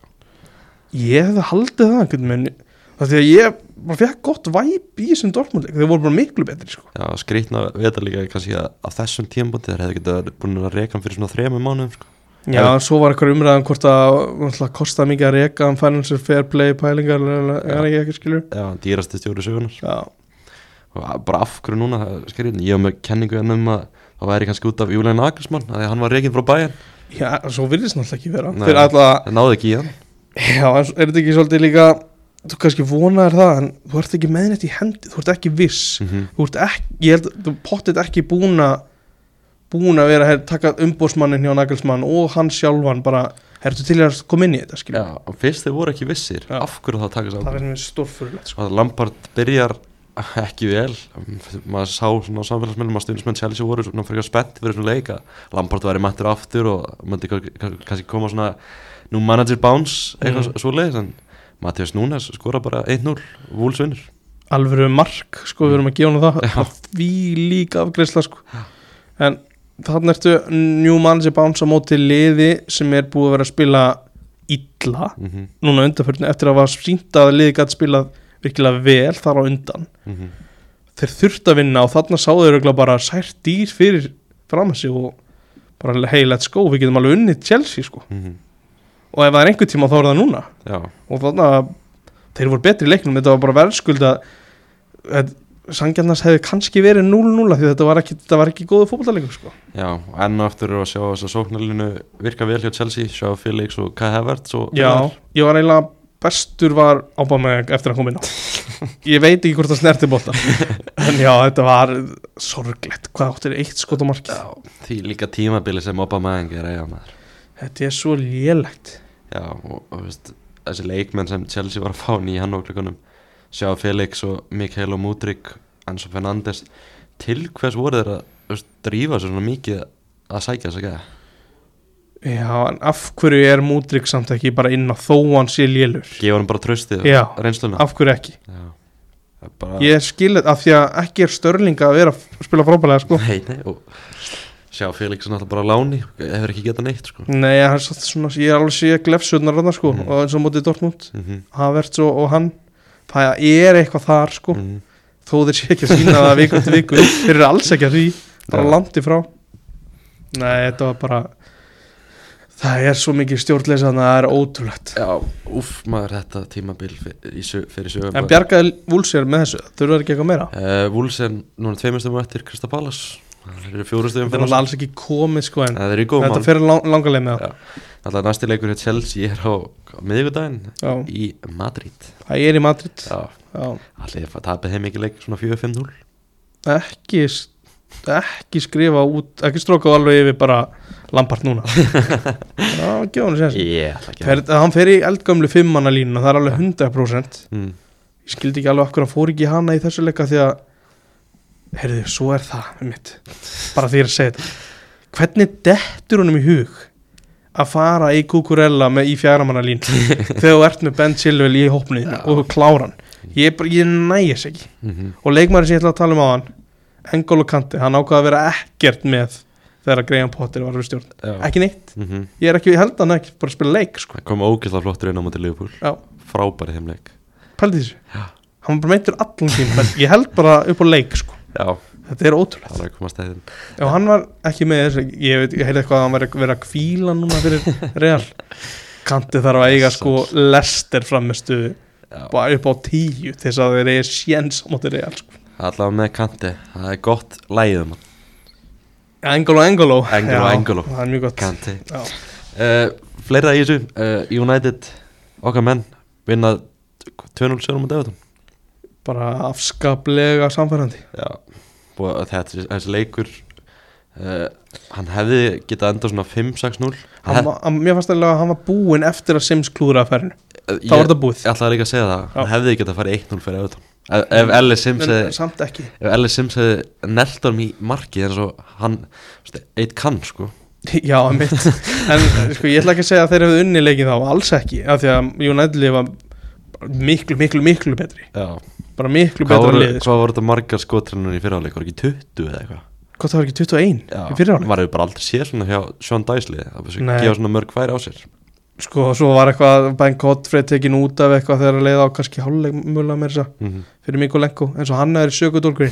ég hefði haldið það einhvern veginn það því að ég bara fekk gott væp í þessum dortmundleik, þau voru bara miklu betri sko.
Já, skrýtna við þetta líka kannski að á þessum tímabóti þeir hefði getað búin að reka hann fyrir svona þremur mánuðum sko.
já,
Já.
svo var eitthvað umræðan hvort að náttúrulega, kostaði mikið að reka um financial fair play pælingar, er ekki ekki skilur
Já, hann dýrasti stjóri sögunar
já,
og að- bara af hverju núna, það er skrýtna ég hef með kenningu enn um að það væri kannski út af Julian Nagelsmann, að því að hann var rekin frá bæjan
já svo virðist náttúrulega ekki vera
Nei.
fyrir alltaf
það náði ekki í hann
Já, en er þetta ekki svolítið líka þú kannski vonaðir það en þú ert ekki með þetta í hendi, þú ert ekki viss
mm -hmm.
þú ert ekki, ég held, þú pottit ekki búin að búin að vera að taka umbósmannin hjá Nagelsmann og hann sjálfan bara, ertu til í að koma inn í þetta skilja,
Já, og fyrst þeir voru ekki vissir
Já.
af hverju það takast
það
á
verður mér stórfurulegt sko.
að Lampard byrjar ekki vel maður sá svona á samfélagsmiðlum að stundismenn Chelsea voru svona fyrir spennt fyrir svona leika Lampard væri mættur aftur og myndi kann- kann- kannski koma svona nú manager bounce eitthvað mm.
Mhm.
svo leiðis en Matías Núnes skora bara 1-0 Wolves vinnur
alvöru mark, sko, við erum að gefa hann það
Já.
það því líka afgreisla sko. en þannig ertu New Manager Bounce á móti liði sem er búið að vera að spila illa
mm -hmm,
núna undanförðinu eftir að var sínt að liði gæti spilað virkilega vel þar á undan
mm -hmm.
þeir þurft að vinna og þarna sáðu þeir örugglega bara sært dýr fyrir fram að sig og bara hey let's go við getum alveg unnið Chelsea sko
mhm.
og ef það er einhver tíma þá er það núna
Já,
og þarna þeir voru betri í leiknum þetta var bara verðskulda sangjarnas hefði kannski verið 0-0 af því þetta var ekki, þetta var ekki góðu fótballalegur sko
já, og enn og aftur er að sjá þess að sóknarlinu virka vel hjá Chelsea, sjá Felix og Kai Havertz og
Já, ég var eiginlega bestur var Aubameyang eftir að koma inn á Ég veit ekki hvort það snerti bóta En já, þetta var sorglegt Hvað áttir eitt skot á markið
Já, því líka tímabili sem Obama er eiga maður
Þetta er svo lélegt
Já, og, og veist, þessi leikmenn sem Chelsea var að fá nýja hann okkurkonum Sjá Felix og Mikael og Mudrik Enzo Fernandes Til hvers voru þeir að veist, drífa sig svona mikið að sækja þess að gæða
Já, en af hverju er Múdrik samt ekki bara inn á þó hann sé lélur
Gefa hann bara tröstið
Já.
og reynsluna
Af hverju ekki
Já, það er bara
Ég skil þetta af því að ekki er störling að vera að spila frábælega sko
Nei, nei, og sjá Felix er náttúrulega bara á láni Hefur ekki getað neitt, sko
Nei, hann er svolítið svona, ég er alveg sé glefsutnar hann sko
Mhm.
og eins og mótið Dortmund,
mm -hmm.
Havertz og, og hann Það er eitthvað þar sko
mhm.
þó þeir sé ekki að sína það viku til viku þeir eru alls ekki að því, bara
Já.
langt í frá nei, þetta var bara það er svo mikið stjórnleysa þannig að það er ótrúlegt
Já, úff, maður þetta tímabil fyrir, sög, fyrir sögum
en bjargaði Vúlsér með þessu, þurfa ekki eitthvað meira
uh, Wools er núna tveimustum eftir Kristapalas Það eru fjórustum
þetta er alveg alls ekki komið sko en
Það er í góðum
þetta fer lang, langarleið með það
Já. Alltaf næsti leikur hjá Chelsea er á á miðvikudaginn
já,
í Madrid
það er í Madrid
Já,
já.
allir að tapa þeim ekki leik svona 4-5-0
ekki s- ekki skrifa út, ekki stróka alveg yfir bara Lampart núna já, gefa hann sér
Ég ætla ekki að-
Fer, hann fer í eldgömlu fimmanna línuna, það er alveg 100%
Mm,
ég skildi ekki alveg af hverju hann fór ekki í hana í þessu leika því að heyrðu, svo er það mitt, bara því ég er að segja þetta hvernig dettur honum í hug að fara í Kukurella með í fjæramannalín þegar þú ert með Ben Silvel í hópnið ja. og þú klára hann ég, bara- ég nægis ekki
mhm.
og leikmæri sem ég ætla að tala um á hann Engol og Kanti, hann ákvaði að vera ekkert með þegar Graham Potter var við stjórn
Já.
ekki neitt,
Mm
ég er ekki, ég held að hann ekki bara að spila leik sko.
Það kom ógeðslega flottur inn á móti Leopold
Já.
Frábæri þeim leik
pældi þessu, hann var bara meittur allan tíma menn ég held bara upp á leik sko.
Já,
þetta er ótrúlegt
það er að komast að
og hann var ekki með þessu ég, veit, ég heyrði eitthvað að hann var að vera að kvíla núna fyrir real Kanti þarf að eiga sko lester framistu
þeim
bara upp á tíu til þess að þeir eigi sjens á móti real sko.
Allavega með kanti, það er gott lægið um mann
Engolo Engolo
Engolo,
Já,
Engolo.
það er mjög gott
Kanti
Já.
uh, Fleira í þessu, uh, United okkar menn vinna 2-0 sjörum á Everton
bara afskaplega samfærandi
Já, og þetta, þessi leikur uh, hann hefði getað enda svona 5-6-0
hann,
Hef-
var- hann, mér fannst alveg að hann var búinn eftir að Sims klúra að ferinu,
eh,
þá var
Ég
þetta búið
ég ætlaði líka að segja það, hann
Já.
hefði getað farið 1-0 fyrir Everton Ef- Ef Ellis Sims
en
hefði-
samt ekki
ef Ellis Sims hefði neltanum í markið eins og hann, þú veist, eitt kann sko
Já, mitt En sko, ég ætla ekki að segja að þeir hefðu unni leikið þá Alls ekki, af því að United var miklu, miklu, miklu betri
Já,
Bara miklu
hvað
betra
voru,
liði sko.
hvað voru þetta margar skotrennur í fyrirháleik, voru ekki 20 eða eitthvað
Hvað það var ekki 21 í fyrirháleik
Var við bara aldrei séð svona hjá Sean Dysley að þessu
Nei.
gefa svona mörg færi á sér
Sko, svo var eitthvað Ben Godfrey tekin út af eitthvað þegar að leiða á kannski hálfleik mjögulega meira þess að
mm -hmm.
segja, fyrir Mikko Lenko en svo hann er sögudólkur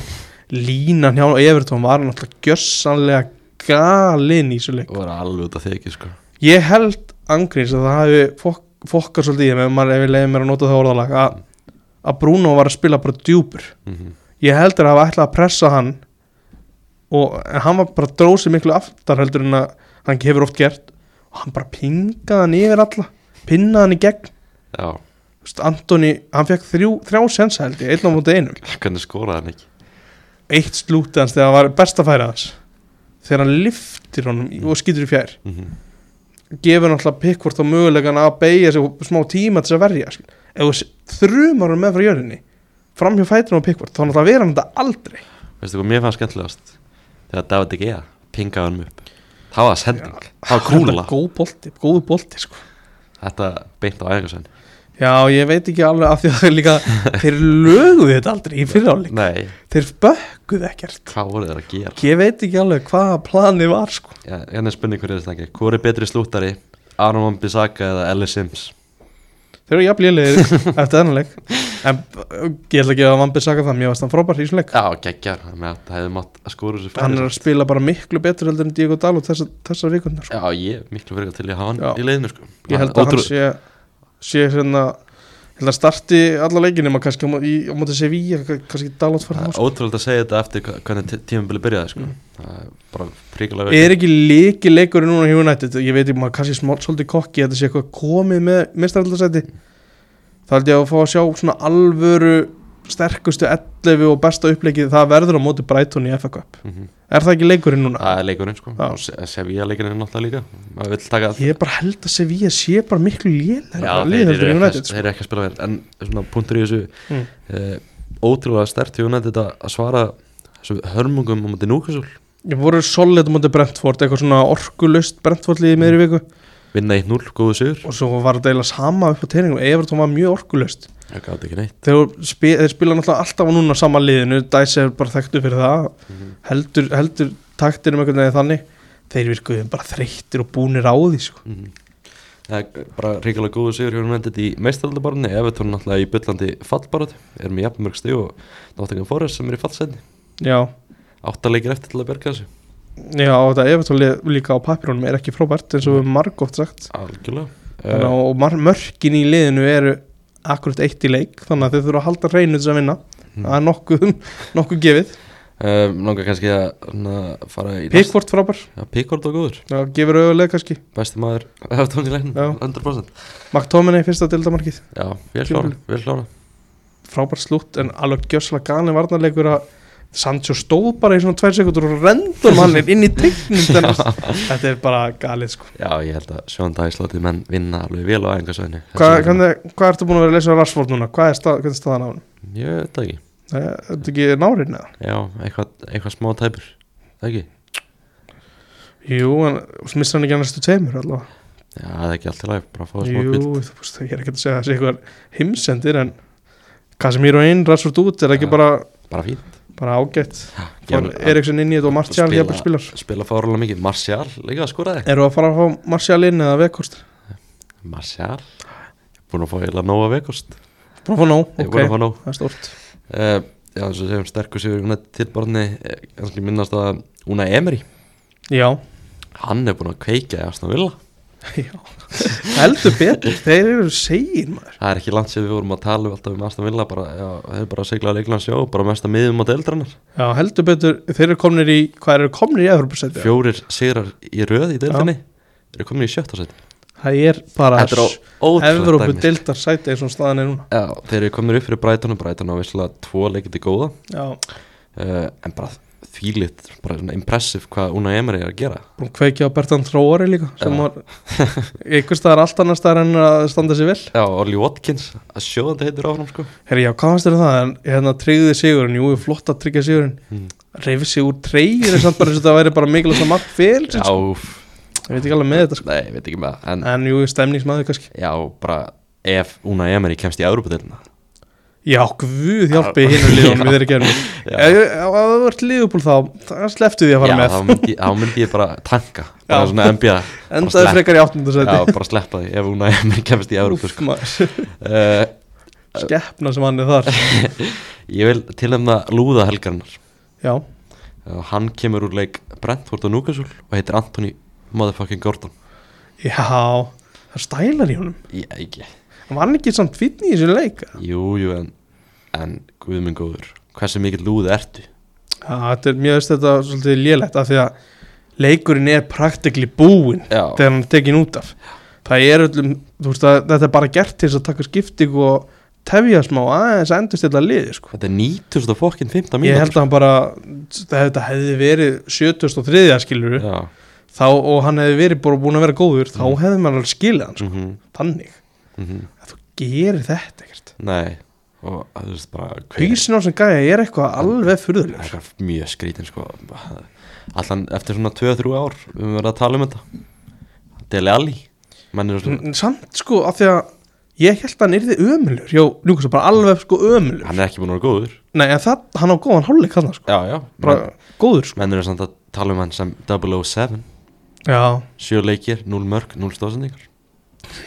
Línan hjá Evertón var náttúrulega gjössanlega galinn í svo leik
og var alveg út af þegi sko
Ég held angriðs að það hafi fok fokkar svolítið í þeim ef maður ef ég leiði mér að nota það orðalag að, að Bruno var að spila bara djúpur
mm -hmm.
ég heldur að hafa ætlað að pressa hann og en hann var bara drósið miklu aftar heldur en að hann hefur oft gert og hann bara pingaði hann yfir alla pinnaði hann í gegn
Já,
Þú veist, Antoni, hann fekk þrjú, þrjá sensa held ég, einn á mútið einum
hvernig skoraði hann ekki
eitt slúti hans þegar það var besta færi hans þegar hann liftir honum í- og skýtur í fjær
mm -hmm.
gefur náttúrulega pikkvort á mögulegan að beigja sig og smá tíma til þess að verja skil. ef þú þrjumar hann með frá jörðinni framhjá fætinu á pikkvort þá náttúrulega vera hann þetta aldrei
Veistu hvað mér fannst skemmtilegast þegar David De Gea pingaði hann upp Það var sending, það var kúla
góð bolti, góð bolti sko.
Þetta beint á æfingarsvenni
já, ég veit ekki alveg af því að þeir líka þeir löguðu þetta aldrei í fyriráleik
Nei,
þeir bökkuðu ekkert
hvað voru þeir að gera
ég veit ekki alveg hvað planið var sko.
Já, Hérna er spurning hverju þetta ekki Hvor er betri slúttari, Aron Van Bissaka eða Ellis Sims
þeir eru jafnlélegir eftir þennan leik en uh, ég ætla ekki að vambið saka það mér varst hann frábær í svona leik
Já, geggjar, það hefði mátt að skora þessu
hann er að spila bara miklu betur heldur en Diego Dalot þessar, þessar vikundar
Já, ég er miklu verið til í að hafa hann
Já.
í leiðinu sko.
ég held að
Ótrú-
hann sé sé hérna ég held að starti alla leikinu maður kannski á mó- í- á móti Sevilla kannski Dalot
Það
fara
er ótrúlega að segja þetta eftir hva- hvernig tí- tímabilið byrjaði sko.
Mm.
Það er bara príkulega
er ekki líki leikurinn núna hjá United ég veit ekki maður kannski smá, svolítið kokki þetta sé eitthvað komið með mistaraldarsæti þá held ég að fá að sjá svona alvöru sterkustu 11 og besta uppleikið það verður á móti Brighton í FA Cup
Mhm.
er það ekki leikurinn núna?
Það er leikurinn sko.
Já.
og Sevilla leikurinn er náttúrulega líka maður vill taka
ég bara held að Sevilla sé bara miklu lélæra
þeir,
liðheldur
eru ekki,
en United sko.
þeir eru ekki að spila vel en svona punktur í þessu
Mm.
eh, ótrúlega stert í United að að svara þessu hörmungum á móti núkvæsul
ég voru solid á móti Brentford eitthvað svona orkulust Brentford liðið í meðri viku
vinna 1-0, góðu sigur
og svo var þetta eiginlega sama upp á teiningu Everton var mjög orkulust
það gáði ekki neitt
þeir, spi, þeir spila náttúrulega alltaf á núna sama liðinu Dice er bara þekktu fyrir það heldur, heldur taktir um einhvern veginn þannig þeir virkuðu bara þreyttir og búnir á því sko.
Mhm. það er bara ríkilega góðu sigur hjá United í meistaraldabarni Evertón náttúrulega í byllandi fallbarat er með jafnmörg stig og Nottingham Forest sem er í fallsendi
já,
áttalegir eftir til að berga þessu
já og þetta Everton lið, líka á papírónum er ekki frábært eins og við margótt sagt
algjörlega
þannig, að- og mar, mörkin í liðinu eru akkurat eitt í leik þannig að þeir þurfa að halda reynu þess að vinna það er nokkuð, nokkuð gefið
Um, langar kannski að svona, fara í
Pickford frábær,
Já, Pickford og góður,
já, gefur auðvitað kannski
besti maður Evertón í leiknum,
Já.
100%
McTominay fyrsta dildamarkið
Já, vel klára,
Tímabil.
vel klára
frábær slútt en alveg gjössalega gani varnarleikur að Sancho stóð bara í svona tvær sekundur og rendum hann inn í teiknum þennan. þetta er bara galið sko
Já, ég held að Sjón Dæslóti menn vinna alveg vel á æfingarsvæðinu
hvað, hvernig, hvað ertu búin að vera að leysa á Rashford núna? hvað er stað, hvernig er staðan á hann?
Ég veit það ekki,
Nei, er Þetta ekki nárin eða?
já, eitthvað, eitthvað smá tæpur Það ekki,
Jú, en missa hann ekki að næstu tveimur allavega
Já, það er ekki allt í lagi, bara að fá það smá
Jú,
kvild
þú veist, ég er ekki að segja að það sé eitthvað heimsendir en Casemiro inn, Rashford út er ekki
Já.
bara,
Bara fínt
bara ágætt
Já,
Fór
gefur-
Eriksson inn í þetta og Martial
Spila-
jafnvel spilar
Spila fárlega mikið, Martial líka að skora þig
Eru að fara að fá Martial inn eða vekost?
Martial Búin að fá eiginlega nóga vekost
Búin að fá nóg,
Ég
ok,
búin að fá nóg
það er stort
uh, Já, eins og segjum sterkur sigur United til barni Kannski minnast að Una Emery
Já,
Hann er búin að kveika í Aston Villa
já Heldur betur, þeir eru segir maður
Það er ekki langt sem við vorum að tala um alltaf um Aston Villa bara, já, Þeir eru bara að segla að leikla sjó Bara mesta miðum á deildrannar
Já, heldur betur, þeir eru komnir í hvað eru komnir í Evropasæti?
Fjórir sigrar í röð í deildinni Þeir eru komin í sjötta sæti
Það er bara
Þetta er ó- ótrúlegt
Evropu
dæmi sko.
deildar sæti eins og staðan er núna
Já, þeir eru komin upp fyrir Brighton og Brighton á visslega tvo leikindi góða
Já,
uh, en bara þvílitt bara svona impressive hvað Una Emery er að gera
búin að kveikja á Bertrand Tróari líka sem
Já.
var einhver staðar allt annar staðar en að standa sér vel
Já, Ollie Watkins, að sjóðandi heitir áfram sko
Herri, já, hvað fannst þér um það? En hérna tryggði sigurinn, jú, flott að tryggja sigurinn
Mm.
reyfi sig úr treyjur er samt bara eins og það væri bara mikilvægt að mark fel
Já,
ég
úff,
veit ekki alveg með þetta sko.
nei, ég veit ekki með það en
en jú, stemningsmaður kannski
já, bara ef Una Emery kemst í Európa-delina
Já, guð hjálpi hinn og liðunum við þeirri gerum Ef ef þú ert liðupúl þá, það sleftu því að fara
Já,
með
þá myndi, þá myndi ég bara tanka bara
Já.
svona NBA
Endaði
slepp.
frekar í áttundasæti
Já, bara sleppa því ef Una Emery kemst í Európa sko. uh,
Skeppna sem hann er þar
Ég vil tilnefna Lúða Helgarnar
Já,
uh, Hann kemur úr leik Brentford og Newcastle og heitir Anthony motherfucking Gordon
já, það er stælar í honum
Ég ekki
Hann var hann ekki samt fínn í þessum leik
Jú, jú, en, en guð minn góður, hversu mikið lúð ertu?
Já, þetta er mjög veist þetta svolítið lélegt af því að leikurinn er praktikli búinn
Já,
þegar hann er tekin út af það er öllum, þú veist að þetta er bara gert til þess að taka skipting og tefja smá aðeins að endur stilla liði sko.
þetta er 90. fokkin 15 mínútur.
ég held að hann bara þetta hefði verið 73. skilur
Já,
þá, og hann hefði verið bara búin að vera góður þá
Mm.
hefði maður alveg skilið hann sko.
mm -hmm,
þannig að þú gerir þetta ekkert
mhm. nei, og að þú veist bara hver-
hausin á sem gæja er eitthvað alveg
Það er
furðulegur
eitthvað mjög skrítin, sko Allan eftir svona 2-3 ár við höfum verið að tala um þetta Dele Alli, menn eru svona
N- samt sko af því að ég held að hann yrði ömulur já, Lukas er bara alveg sko ömulur
hann er ekki búin að vera góður
nei, en það, hann á góðan hálfleik hann sko,
Já, já,
bara
menn,
góður sko
menn eru samt að tala um hann sem 007
já,
7 leikir, 0 mörg, 0 stóðsendingar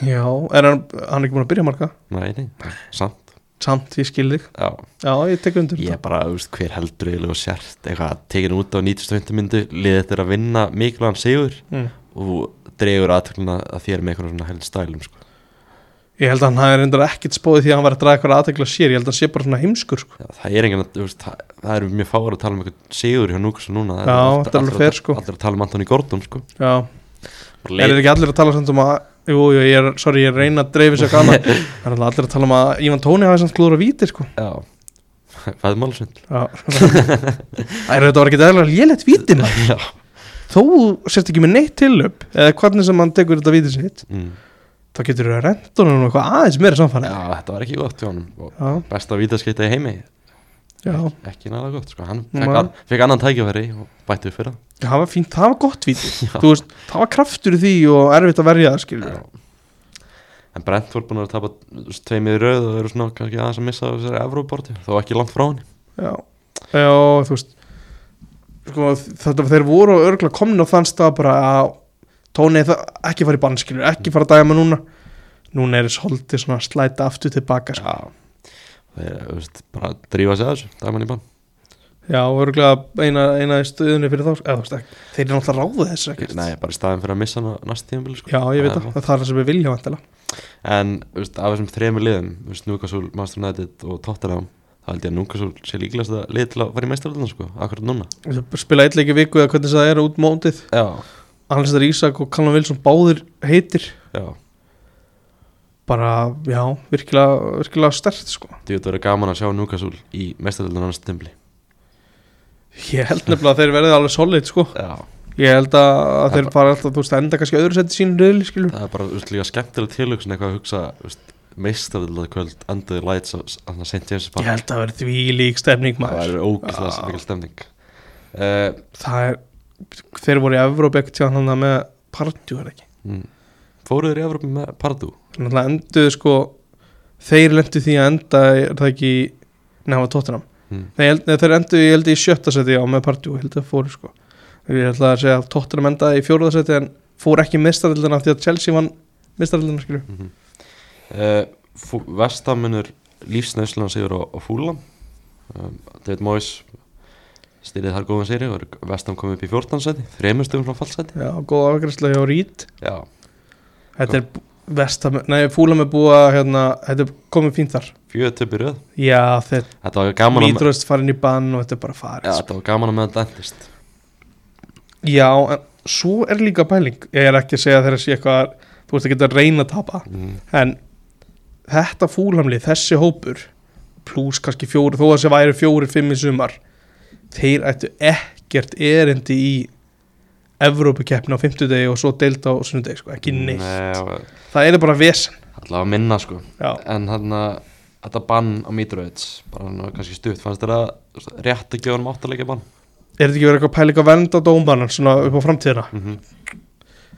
já, er hann, hann er ekki búin að byrja marga
Nei, nei, samt
samt, ég skil þig,
Já,
já, ég tek undir
Ég
yeah.
er bara, þú veist, hver heldur eiginlega og sért eitthvað, tekin út á 90. myndu liðið þetta er að vinna mikilvægan sigur
mm.
og dregur aðtökluna að þér með eitthvað svona held stælum sko.
ég held að hann hafi reyndar ekkit spóðið því að hann var að draga eitthvað aðtekla sér, ég held að hann sé bara svona heimskur sko.
Já, það er enginn að, þú veist, það, það eru mjög fáar að tala um eitthvað sigur hjá núkast núna
Já,
allt-
þetta er alveg
allir að-
fair, sko.
Allir að tala um Antoni Gordon sko.
já,
Bara leit-
er þetta ekki allir að tala samt um að jú, jú, ég er, sorry, ég er að reyna að dreifu sér gana það er náttúrulega allir að tala um að Ívan Tóni hafi samt klúður að víti, sko
Já, veðmálusund
já það er þetta var ekki eðlilega lélegt víti, maður
Já,
þó sért ekki með neitt tilöp eða hvernig sem hann tekur þetta vítið sitt
mm.
þá getur það rendunum eitthvað aðeins meira samfæri
Já, þetta var ekki gott hjá honum og
já,
besta vítaskeita í heimi
já.
ekki næra gott, sko, hann
Nei.
fekk, an, fekk annan tækifæri og bætti upp fyrir
það var fínt, það var gott vítið
Já.
þú veist, það var kraftur í því og erfitt að verja það skilur
Já. En Brentford búin að vera að tapa tveimið í rauð og eru svona kannski aðeins að missa af þessari Evróborti þó ekki langt frá henni
já, já, þú veist sko, þetta þeir voru örgulega komin á þann stað bara að tóni það ekki fara í bann skilur ekki fara að dæma núna núna er þess holdið svona að slæta aftur tilbaka sko.
Já Þeir, þú veist, bara drífa sig að þessu, dagmann í bann
já, örgulega eina, eina í stöðunni fyrir þá sko. eða, þú veist, ekki- þeir eru náttúrulega ráðið þessu ekkert
Nei, bara í staðin fyrir að missa hana næst tíðanbili sko.
Já, ég veit
Það er
það,
vont.
það er það sem við vilja vantala
En, þú veist, af þessum þremur liðum þú veist, Núkasúl, Master United og Tottenham þá held ég að Núkasúl sé líklegast að lið til að fara í meistaröldina, sko, akkurat núna
Spila eitt leik í viku eða hvernig það er út mótið
Já,
Alistair Ísak og Callum Wilson báðir heitir
já
Bara, já, virkilega, virkilega stert sko
Þú veit að vera gaman að sjá Núkasúl í meistaröldina næst tíðanbili
Ég held nefnilega að þeir verði alveg solid sko
Já
Ég held að, að
Það
þeir fara alltaf, þú veist, enda kannski öðru seti sín reyðli skilur
það er bara úst, líka skemmtileg tilhugsun eitthvað að hugsa meistarðilega kvöld anduði lights á St. James
Ég
Park
held að það verði því lík stemning
það
maður
er ógeðslega
Já.
sem mikil stemning uh,
Það er, þeir voru í Evróp ekkert tíðan hann með partjú er það ekki
mm, fóruður í Evropi með Pardu
náttúrulega enduðu sko þeir lendu því að enda er það ekki nefna tóttunum
Mm.
mm. þeir, nei, þeir enduðu, ég held í sjötta seti á með partjú, held að fóru sko ég held að segja að tóttunum endaði í fjóruða seti en fór ekki mistarildina því að Chelsea vann mistarildina skilju
Mhm. uh, Vestamunur lífsnöðslan sigur á, á Fúlam um, David Moyes styrðið þar góðan sigri og Vestam kom upp í 14 seti, þremur stöðum frá fallseti
já, góð afgræsla hjá Reed
Já,
þetta er vestam, nei, fúlam er búið að hérna, þetta er komið fínt þar
fjöðu töpi röð
já, þetta
Þetta var gaman að,
mítröðst farin í bann og þetta er bara farið
ja,
sko.
þetta var gaman að meðan þetta endist
Já, en svo er líka pæling Ég er ekki að segja þegar að sé eitthvað Þú veist að geta að reyna að tapa
mm.
En þetta fúlamli, þessi hópur Plús kannski fjóri Þó að þessi væri fjóri, fimm í sumar Þeir ættu ekkert erindi í Evrópukeppni á fimmtudegi Og svo deild á sunnudegi sko. Ekki neitt
Nei,
Það er bara vesen
allavega minna sko
Já,
En hann að þetta bann á Mitrovic bara hann kannski stutt, fannst þetta rétt að gefa hann áttalega bann
Er þetta ekki verið eitthvað pæling að vernda dómanan Svona upp á framtíðina
mm -hmm.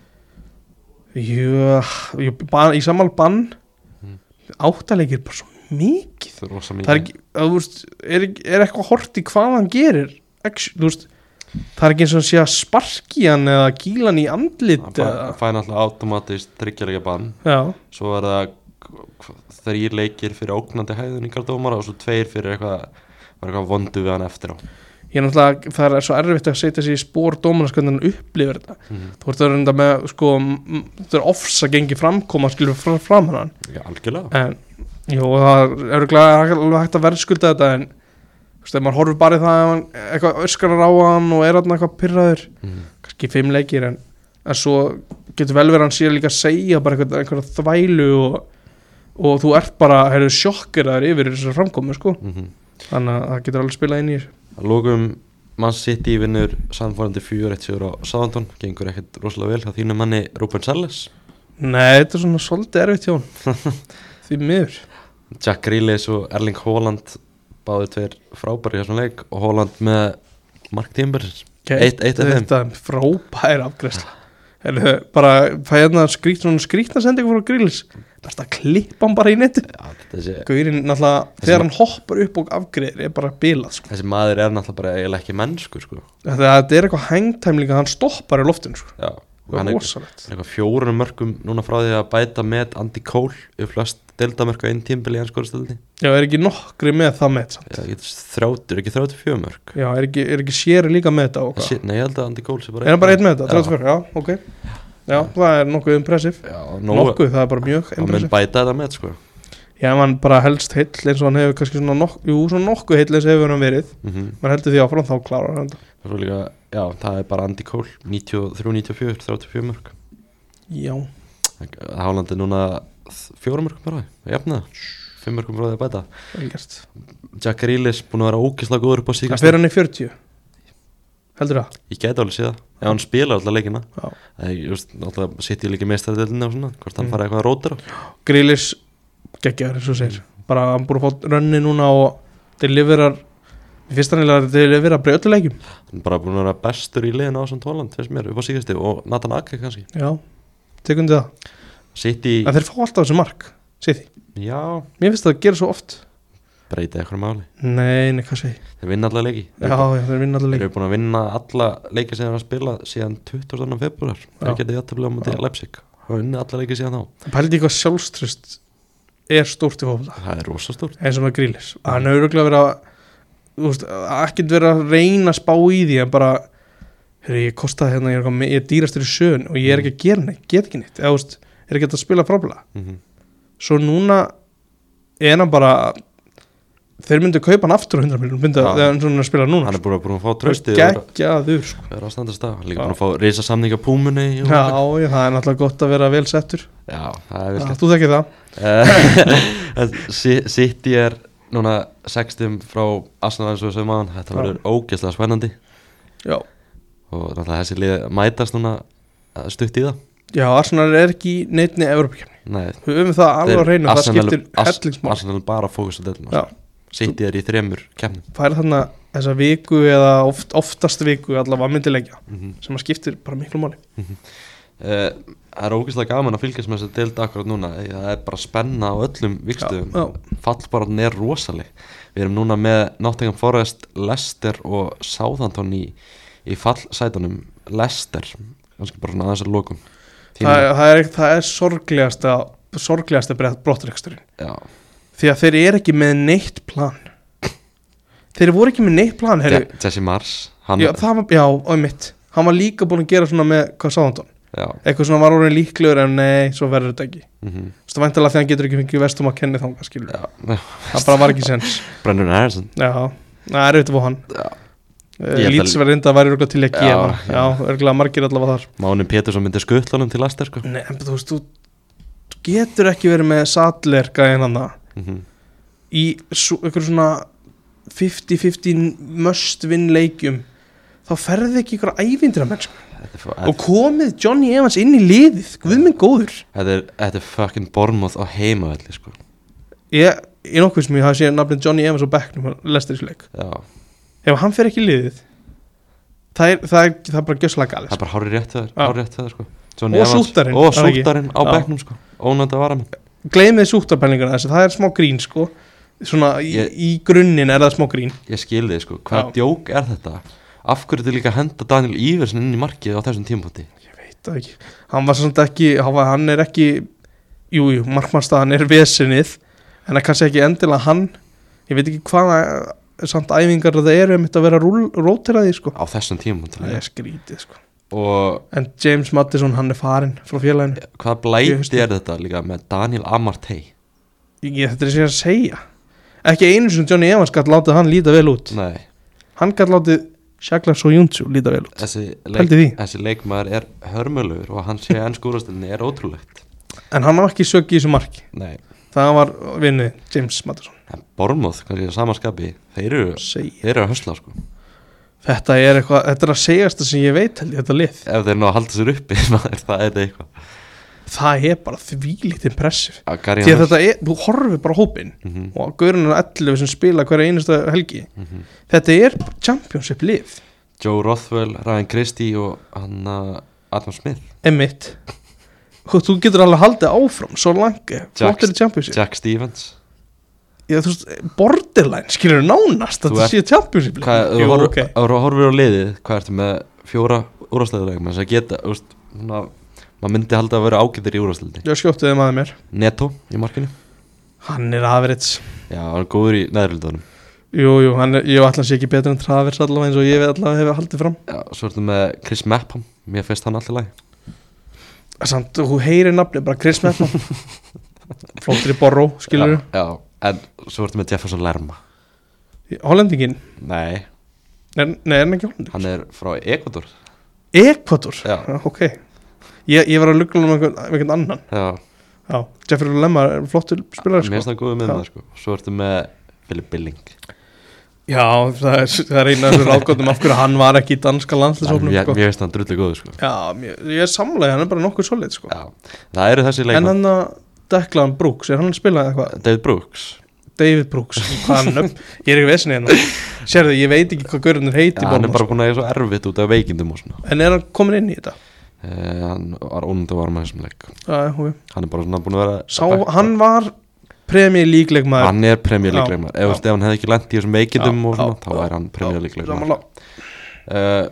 Jú, jú, ban, Í sammál bann
Mhm.
Áttalegir bara svo mikið
Það er rosa mikið
það er ekki, að, þú veist, er, ekki- er eitthvað hort í hvað hann gerir Ex, þú veist, það er ekki eins og hann sé að sparki hann eða gíla hann í andlit eða,
Það fæði náttúrulega automatist þryggjarlega bann
já,
svo er það þrýr leikir fyrir ógnandi hæðuningar dómara og svo tveir fyrir eitthvað var eitthvað vondu við hann eftir á
ég er náttúrulega það er svo erfitt að setja sér í spór dómarans hvernig hann upplifir þetta
Mhm.
þú ert að reynda með, sko, m- þetta er ofs að gengi framkoma skilur fram, fram hann
Já, algjörlega
en, jú, og það er glæð, alveg hægt að verðskulda þetta en, þú veist, ef maður horfir bara í það ef hann, eitthvað öskarar á hann og er hann eitthvað pyrraður
mm.
kannski fimm leikir en, en svo getur vel verið að hann síðan líka að segja bara einhver, einhverja þvælu og, og þú ert bara, heyrðu, sjokkeraður yfir þessar framkomu, sko
Mm -hmm.
þannig að það getur alveg spilað inn í þessu
Að lókum mann sitt í vinnur samfórandi fjúr eitt sigur á Sáðantón gengur ekkert rosalega vel á þínu manni Rúben Salles
Nei, þetta er svona svolítið erfitt hjá hann því miður
Jack Grealish og Erling Haaland báðu tveir frábæri í þessum leik og Haaland með Mark Timbersins Eitt- eitt af þeim.
Þetta er frábær afgræsla Heyrðu, bara fæ hérna skrýtt svona skrýtna sendingu frá grillis best að klippa hann bara í netti
Já, þessi,
Gaurinn náttúrulega,
Þessi
þegar
ma-
hann hoppar upp og afgriðir er bara bilað, sko
þessi maður er náttúrulega bara eiginlega ekki mennsku sko.
Þetta þetta er eitthvað hangtæmlinga, hann stoppar í loftinu, sko
Já, og
Það
hann
er
er
rosalegt
Það er eitthvað fjórunum mörgum núna frá því að bæta með Andy Cole upp flest deildamörk á einn tímbili í ennskóðastöldi
Já, er ekki nokkri með það með samt
þrjátur, ekki þrjátur fjögur mörg
Já, er ekki, er ekki séri líka með þetta og hvað
Shit, nei, ég held að Andy Cole sé bara
Er hann bara einn með þetta,
Já.
34, já, ok Já, það er nokkuð impressiv
Já, nokkuð
Nokkuð, það er bara mjög
hann mun
impressiv
bæta þetta með sko
Já, ef hann bara helst heill eins og hann hefur kannski svona nokkuð Jú, svona nokkuð heill eins hefur hann verið
mm
Man heldur því áfram þá klárar hann þetta.
Svo líka, já, það er bara Andy Cole 93, 94, 34 mörg
Já,
Hálandi núna fjórum mörgum frá því jafna, fimm mörgum frá því að bæta
vel gert
Jack Grealish búin að vera ógislega góður upp á
Það
síkast
fer hann í 40 Heldur það?
Ég gæti alveg séð það, ef hann spilar alltaf leikina
Já.
Það er, just, alltaf sitt ég líka meistaradeildinni og svona Hvort hann
Mm.
mm. fara eitthvað að rótira
Grílis geggjaður eins og þú segir
Mm.
bara hann búið að fá rönni núna og deliverar Mér finnst hann eiginlega að delivera bara í öllu leikjum
Hann er bara búin að vera bestur í liðinu á þessum tóland Fyrst mér, upp á síkasti og Nathan Ake kannski
Já, tekundi það
Sitt í,
En þeir fá alltaf þessu mark Sithi.
já,
Mér finnst það að gera svo oft
breyta eitthvað máli
Nei, nei, hvað segi ég?
Þeir vinna alla leiki
Já, já, þeir vinna alltaf
Þeir
leik
eru búin að vinna alla leiki sem þeir hafa spilað síðan 20. februar
Já.
Þeir getið jættablega á móti
Já.
Leipzig og vinna alla leiki síðan þá
Pældi hvað sjálfströst er stórt í fólkvölda
Það er rosa stórt
eins og með grílis Hann hefur örgulega verið að Þú veist, ekkert verið að reyna að spá í því En bara, heyrðu, ég kostaði hérna Ég er, eitthvað me- ég er dýrastur í sjöun og ég er ekki að gera neitt Get ekki neitt, eða þú veist, er ekki að spila frábla
mm
Svo núna er hann bara Þeir myndu kaupa hann aftur á 100 miljonum Myndu
Já.
að, þegar hann svona er að spila núna
Mhm.
sko.
Hann er búin að, búin að fá trösti og vera-
Gekkjaður sko.
vera að standa stað Hann er líka
Já.
búin að fá risa samninga púmunni og-
Já, já, það er náttúrulega gott að vera vel settur
já, það er vel
Já, Þú þekkir það
Eh, City er núna 60 frá Arsenal eins og sem aðan þetta
Já.
verður ógeðslega spennandi
Já,
og náttúrulega þessi lið mætast núna eh, stutt í það
já Arsenal er ekki í neinni Evropakefni
Nei,
Við höfum það alveg
þeir-
að reyna, það
Arsenal-
skiptir
Ars-
hellingsmál
Arsenal bara fókus á
Já,
delna City er í þremur kemni
það er þarna þessa viku eða oft, oftast viku allavega myndilegja
mm -hmm.
sem að skiptir bara miklu máli
Eh, Það er ógeðslega gaman að fylgjast með þessu deild akkurat núna því að Það er bara spenna á öllum
Já,
vikstöðum Fallbaran er rosaleg Við erum núna með Nottingham Forest, Leicester og Southampton í, í fallsætunum Leicester, kannski bara svona aðeins að lokum
það, er- það, er, ekki- það er sorglegasta sorglegasta brottreksturinn
Já,
því að þeir eru ekki með neitt plan þeir voru ekki með neitt plan heru,
Je- Jesse Mars hann,
já, það var, já, og mitt hann var líka búin að gera svona með hvað sáðan
já,
eitthvað svona var orðin líklegur en nei, svo verður þetta ekki
mm
þú veist, væntalega þegar hann getur ekki fengið vestum að kenni þangað skilur,
já.
það bara var ekki sens
Brennan Harrison
já, það er auðvitað fór hann Eh,
Já. Ég held að-
Líts verður enda að væri örgulega til ekki
Já,
já, já, örgulega margir allavega þar
Máni Pétursson myndi skuttlunum til Leicester sko.
Nei, en þú veist, þú þú getur ekki verið með sadler gæðin hann
mm
í svo, ykkur svona 50-50 must win leikjum þá ferði ekki ykkur ævindir að mennsku
þetta, er f-
sko. og komið Johnny Evans inn í liðið guð minn góður
þetta, er, þetta er fucking Bormoth á heimavelli sko.
ég, ég nokkuð sem ég hafi séð nafnið Johnny Evans og Becknum lestir þessu leik
Já,
ef hann fer ekki í liðið það er, það er, það er bara gjössalega
það er
galið
bara hári rétt þegar,
Já.
hári rétt þegar sko. Johnny
Og
Evans-
sútarinn,
Og
er það ekki?
sútarinn á
Já.
bekknum sko. Ónönda varamenn
gleymið súttarpælinguna þessu, það er smá grín sko svona í,
Ég-
í grunninn er það smá grín
Ég skil þið sko, hvaða
Já.
djók er þetta? Af hverju til líka að henda Daniel Íversen inn í markið á þessum tímpóti?
ég veit það ekki hann var samt ekki, hann var- hann er ekki jújú, jú, markmannstæðan er vesenið en það er kannski ekki endilega hann ég veit ekki hvaða samt æfingar það eru um þetta að vera rúl- róteraði sko
Á þessum tímpóti
það er skrítið sko
Og
en James Madison hann er farinn frá félaginu
hvaða
Ég veist
blæti er þetta líka með Daniel Amartey?
ég, þetta er sér að segja ekki einu sem Johnny Evans gætt látið hann líta vel út
Nei,
hann gætt látið Shaglar Soyuncu líta vel út
þessi, leik,
Pældu í því.
þessi leikmaður er hörmulegur og hann sé enn skúrastinni er ótrúlegt
en hann var ekki sökk í þessu marki
Nei,
það var vinnu James Madison
en Bormoth, kannski samanskapi, þeir eru,
segja
þeir eru að hösla sko
þetta er eitthvað, þetta er að segjast það sem ég veit held ég þetta lið
Ef þeir ná að halda sér uppi, maður, það er eitthvað
það er bara þvílít impressiv
Að Gary
því að
Anderson-
þetta er, þú horfir bara á hópinn
Mhm.
og gaurinn er 11 sem spila hverja einasta helgi þetta er bara championship lið
Joe Rothwell, Ryan Christie og hann uh, Adam Smith
emitt og þú getur alveg haldið áfram svo langi,
Jack-
flottir í championship
Jack Stevens
Já, þú veist, borderline skilur nánast að
Þú
þetta
ert-
sé championship lið
Hvað,
Jú,
horf,
ok.
okay. horfir á liðið, hvað ertu með fjóra úrvarsleðulegum þess að geta, þú veist, svona maður myndi halda að vera ágættir í úrvarsleði
ég skjótti þeim aðeins mér
Neto í markinu
hann er average
Já, hann er góður í neðurlundunum
Jú, jú, hann er, ég ætla hans ekki betur en Travers allavega eins og ég allavega hefur haldið fram
Já, svo ertu með Chris Mappham Mér finnst hann alltaf læg
Samt, hú heyri nafni, bara Chris Metman Flóttir í Borró, skilur
já, já, en svo ertu með Jefferson Lerma
við Hollendingin,
Nei,
nei, nei, er hann ekki Hollending?
hann er frá Ecuador
Ekvator,
Já.
ok Ég, ég var að lugla um einhvern, einhvern annan
Já,
Já, Jeffrey Lemma er flottur
mér
spilar sko.
finnst hann góður með
Já.
það sko Svo ertu með Philip Billing
Já, það er, það er eina af þessu ráðgóttum af hverju hann var ekki í danska
Hann-
landslisóknum
Mér
sko.
mér finnst hann drullu góður sko
Já, mér, ég er samlega, hann er bara nokkuð solid sko.
Já, það eru þessi
En
leikmenn
hann að Declan Brooks, er hann að spila eitthvað?
David Brooks
David Brooks hann upp, ég er ekki vesinni hérna sérðu, ég veit ekki hvað gaurunir
Já,
heiti ja,
hann er bara
bara...
búin að eiga svo erfitt út af veikindum og svona
en er hann komin inn í þetta
eh, Hann var ónund að varma þessum leik
já, ok.
Hann er bara svona búin að vera
Sá, hann var Premier League leikmaður
Hann er premjörleik
Já,
leikmar Ef þú
já.
veist, ef hann hefði ekki lent í þessum veikindum
Já,
og svona
já,
Þá er hann premjörleik leikmar
sammála.
uh,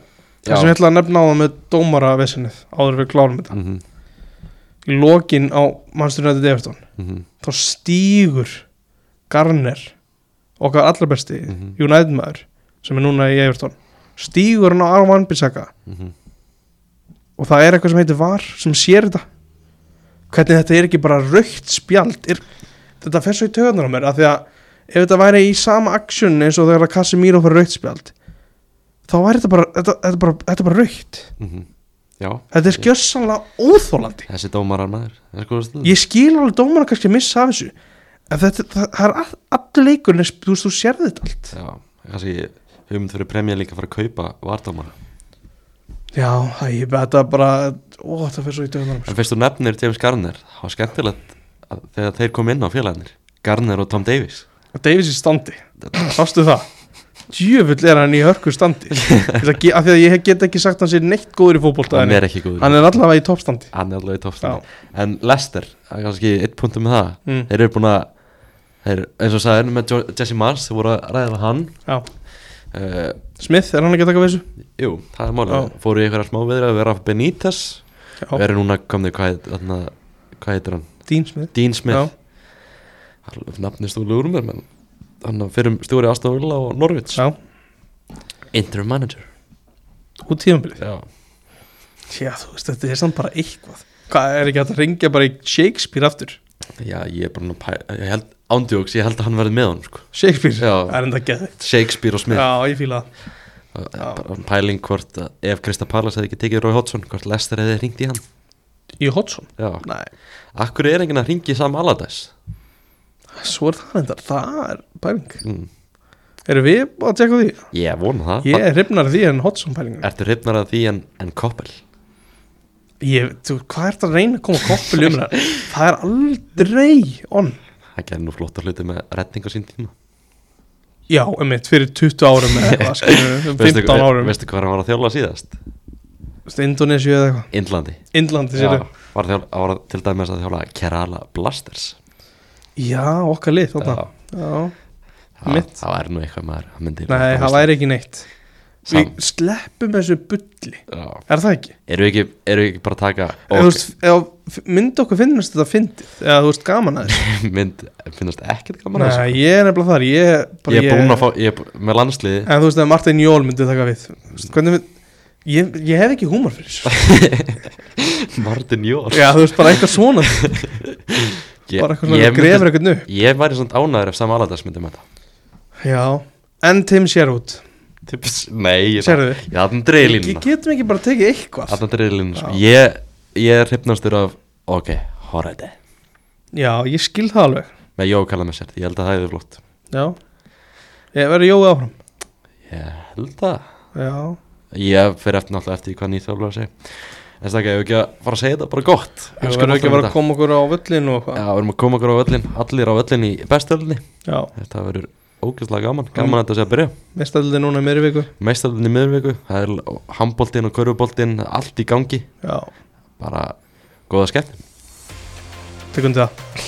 það sem ég ætla að nefna á það með dómara vesinnið áður við klárum þetta
mm -hmm,
í lokin á Manchester United Everton
mm -hmm,
þá stígur Garner okkar allra besti
Mhm.
United maður sem er núna í Everton stígur hann á Arvan Bissaka
mhm,
og það er eitthvað sem heitir VAR sem sér þetta hvernig þetta er ekki bara raukt spjald er, þetta fer svo í töðunar á mér af því að ef þetta væri í sama aksjun eins og þegar Casemiro fyrir raukt spjald þá væri þetta bara þetta, þetta, er bara, þetta er bara raukt
mhm. Já,
þetta er skjössanlega óþólandi
þessi dómarar maður Það er sko stöð
ég skil alveg dómara kannski að missa af þessu en þetta, það, það er all- allur leikurinn er sp- þú veist þú sérði þetta allt
Já, kannski hugmynd fyrir premjörleik að fara að kaupa vardómara
já, æ, ég- þetta er bara ó, þetta fer svo í töðunar á mér
En fyrst þú nefnir James Garner Það var skemmtilegt að, þegar þeir kom inn á félagarnir Garner og Tom Davies
Davies í standi, sástu það djöfull er hann í hörku standi af því að ég get ekki sagt hann sér neitt góður í fótbolta
hann
en
er ekki góður
hann er allavega í toppstandi
hann er alveg í toppstandi en Lester, það er kannski eitt punktum með það
mm,
þeir eru búin að þeir, eins og sagðin með Jo- Jesse Mars þeir voru að ræða við hann
já.
uh,
Smith, er hann ekki að taka vissu?
jú, það er málið,
Já.
fóru í einhverja smá viðra að vera Benítez, við erum núna komni hvað, þarna, hvað heitir hann,
Dean Smith
Dean
já.
Smith Alveg nafnist úr úr mér menn hann fyrir stjóri Astafilla og Norvits
já,
interim manager
út tíðanbilið
já.
já, þú veist, þetta er samt bara eitthvað hvað, er ekki hægt að ringja bara í Shakespeare aftur?
já, ég er bara að pæ- ég held, ándjóks, ég held að hann verði með hann sko.
Shakespeare,
Já.
það er enda geðið
Shakespeare og Smith
já, ég fíla það
Það er
Já.
bara pæling hvort að, ef Krista Pallas hefði ekki tekið Rói Hotsson hvort Lester hefði ringt í hann
í Hodson,
já.
nei,
akkur er enginn að ringi Sam Allardyce
svo er það enda það er pæling,
mm.
erum við að tjekka á því?
ég vona það
ég er hrifnar af því en Hodson pælingin
ertu hrifnar af því en, en Koppel
Ég, þú, hvað er þetta að reyna að koma koppil um það? Það er aldrei onn.
það gerði nú flotta hluti með retning á sín tíma
Já, einmitt, fyrir 20 árum eða eitthvað, skilur, um 15 árum,
veistu hvað hann var að þjóla síðast
Indonésiu eða eitthvað,
Indlandi
Indlandi
Já,
sér
var, að þjóla, var að- til dæmis að þjóla Kerala Blasters
Já, okkar lið þarna.
Já.
Já,
það,
Mitt.
það er nú eitthvað maður hann myndi
nei, það væri ekki neitt.
Sam.
Við sleppum þessu bulli,
Já.
er það ekki?
eru ekki, eru ekki bara að taka
Okay. Þú veist, ef, myndi okkur finnast þetta fyndið, eða þú veist gaman að þessu.
mynd, finnast ekkert gaman að
Nei, ég er nefnilega þar, ég... bara-
ég er búinn að fá, ég er bú- með landsliði
En þú veist, ef Martin Jól myndi taka við, þú veist, hvernig við... Ég, ég hef ekki húmar fyrir þessu.
Martin Jól
Já, þú veist, bara eitthvað svona
ég,
bara eitthvað svona
ég,
grefur
myndi,
eitthvað upp
ég væri svona ánæður ef Sam Allardyce myndi mæta
já, en Tim Sherwood
Tips. nei, ég
sérðu,
ég þarna dreigir
Ég- ég
línuna
getum ekki bara tekið eitthvað
þarna dreigir línuna sko.
Já.
ég, ég er hrifnastur af ok, horrede
já, ég skil það alveg
með Jó kalla með sér, ég held að það hefði flott
já, ég verður jóið áfram
ég held að
já,
ég fer eftir náttúrulega eftir því hvað nýtt þjálfur að segja en stakka, ég hef ekki að fara að segja þetta bara gott
já verður
um
ekki bara að koma okkur á völlin og
já,
eitthvað já,
við erum að koma okkur á öllin, allir á öllin í bestöldinni
já
þetta verður ógeðslega gaman, gaman að þetta sé að byrja
mistældið núna í meiri viku
meistarðin í miðurviku það er handbóltinn og körfuboltinn allt í gangi
já,
bara góða skemmt
tekum til það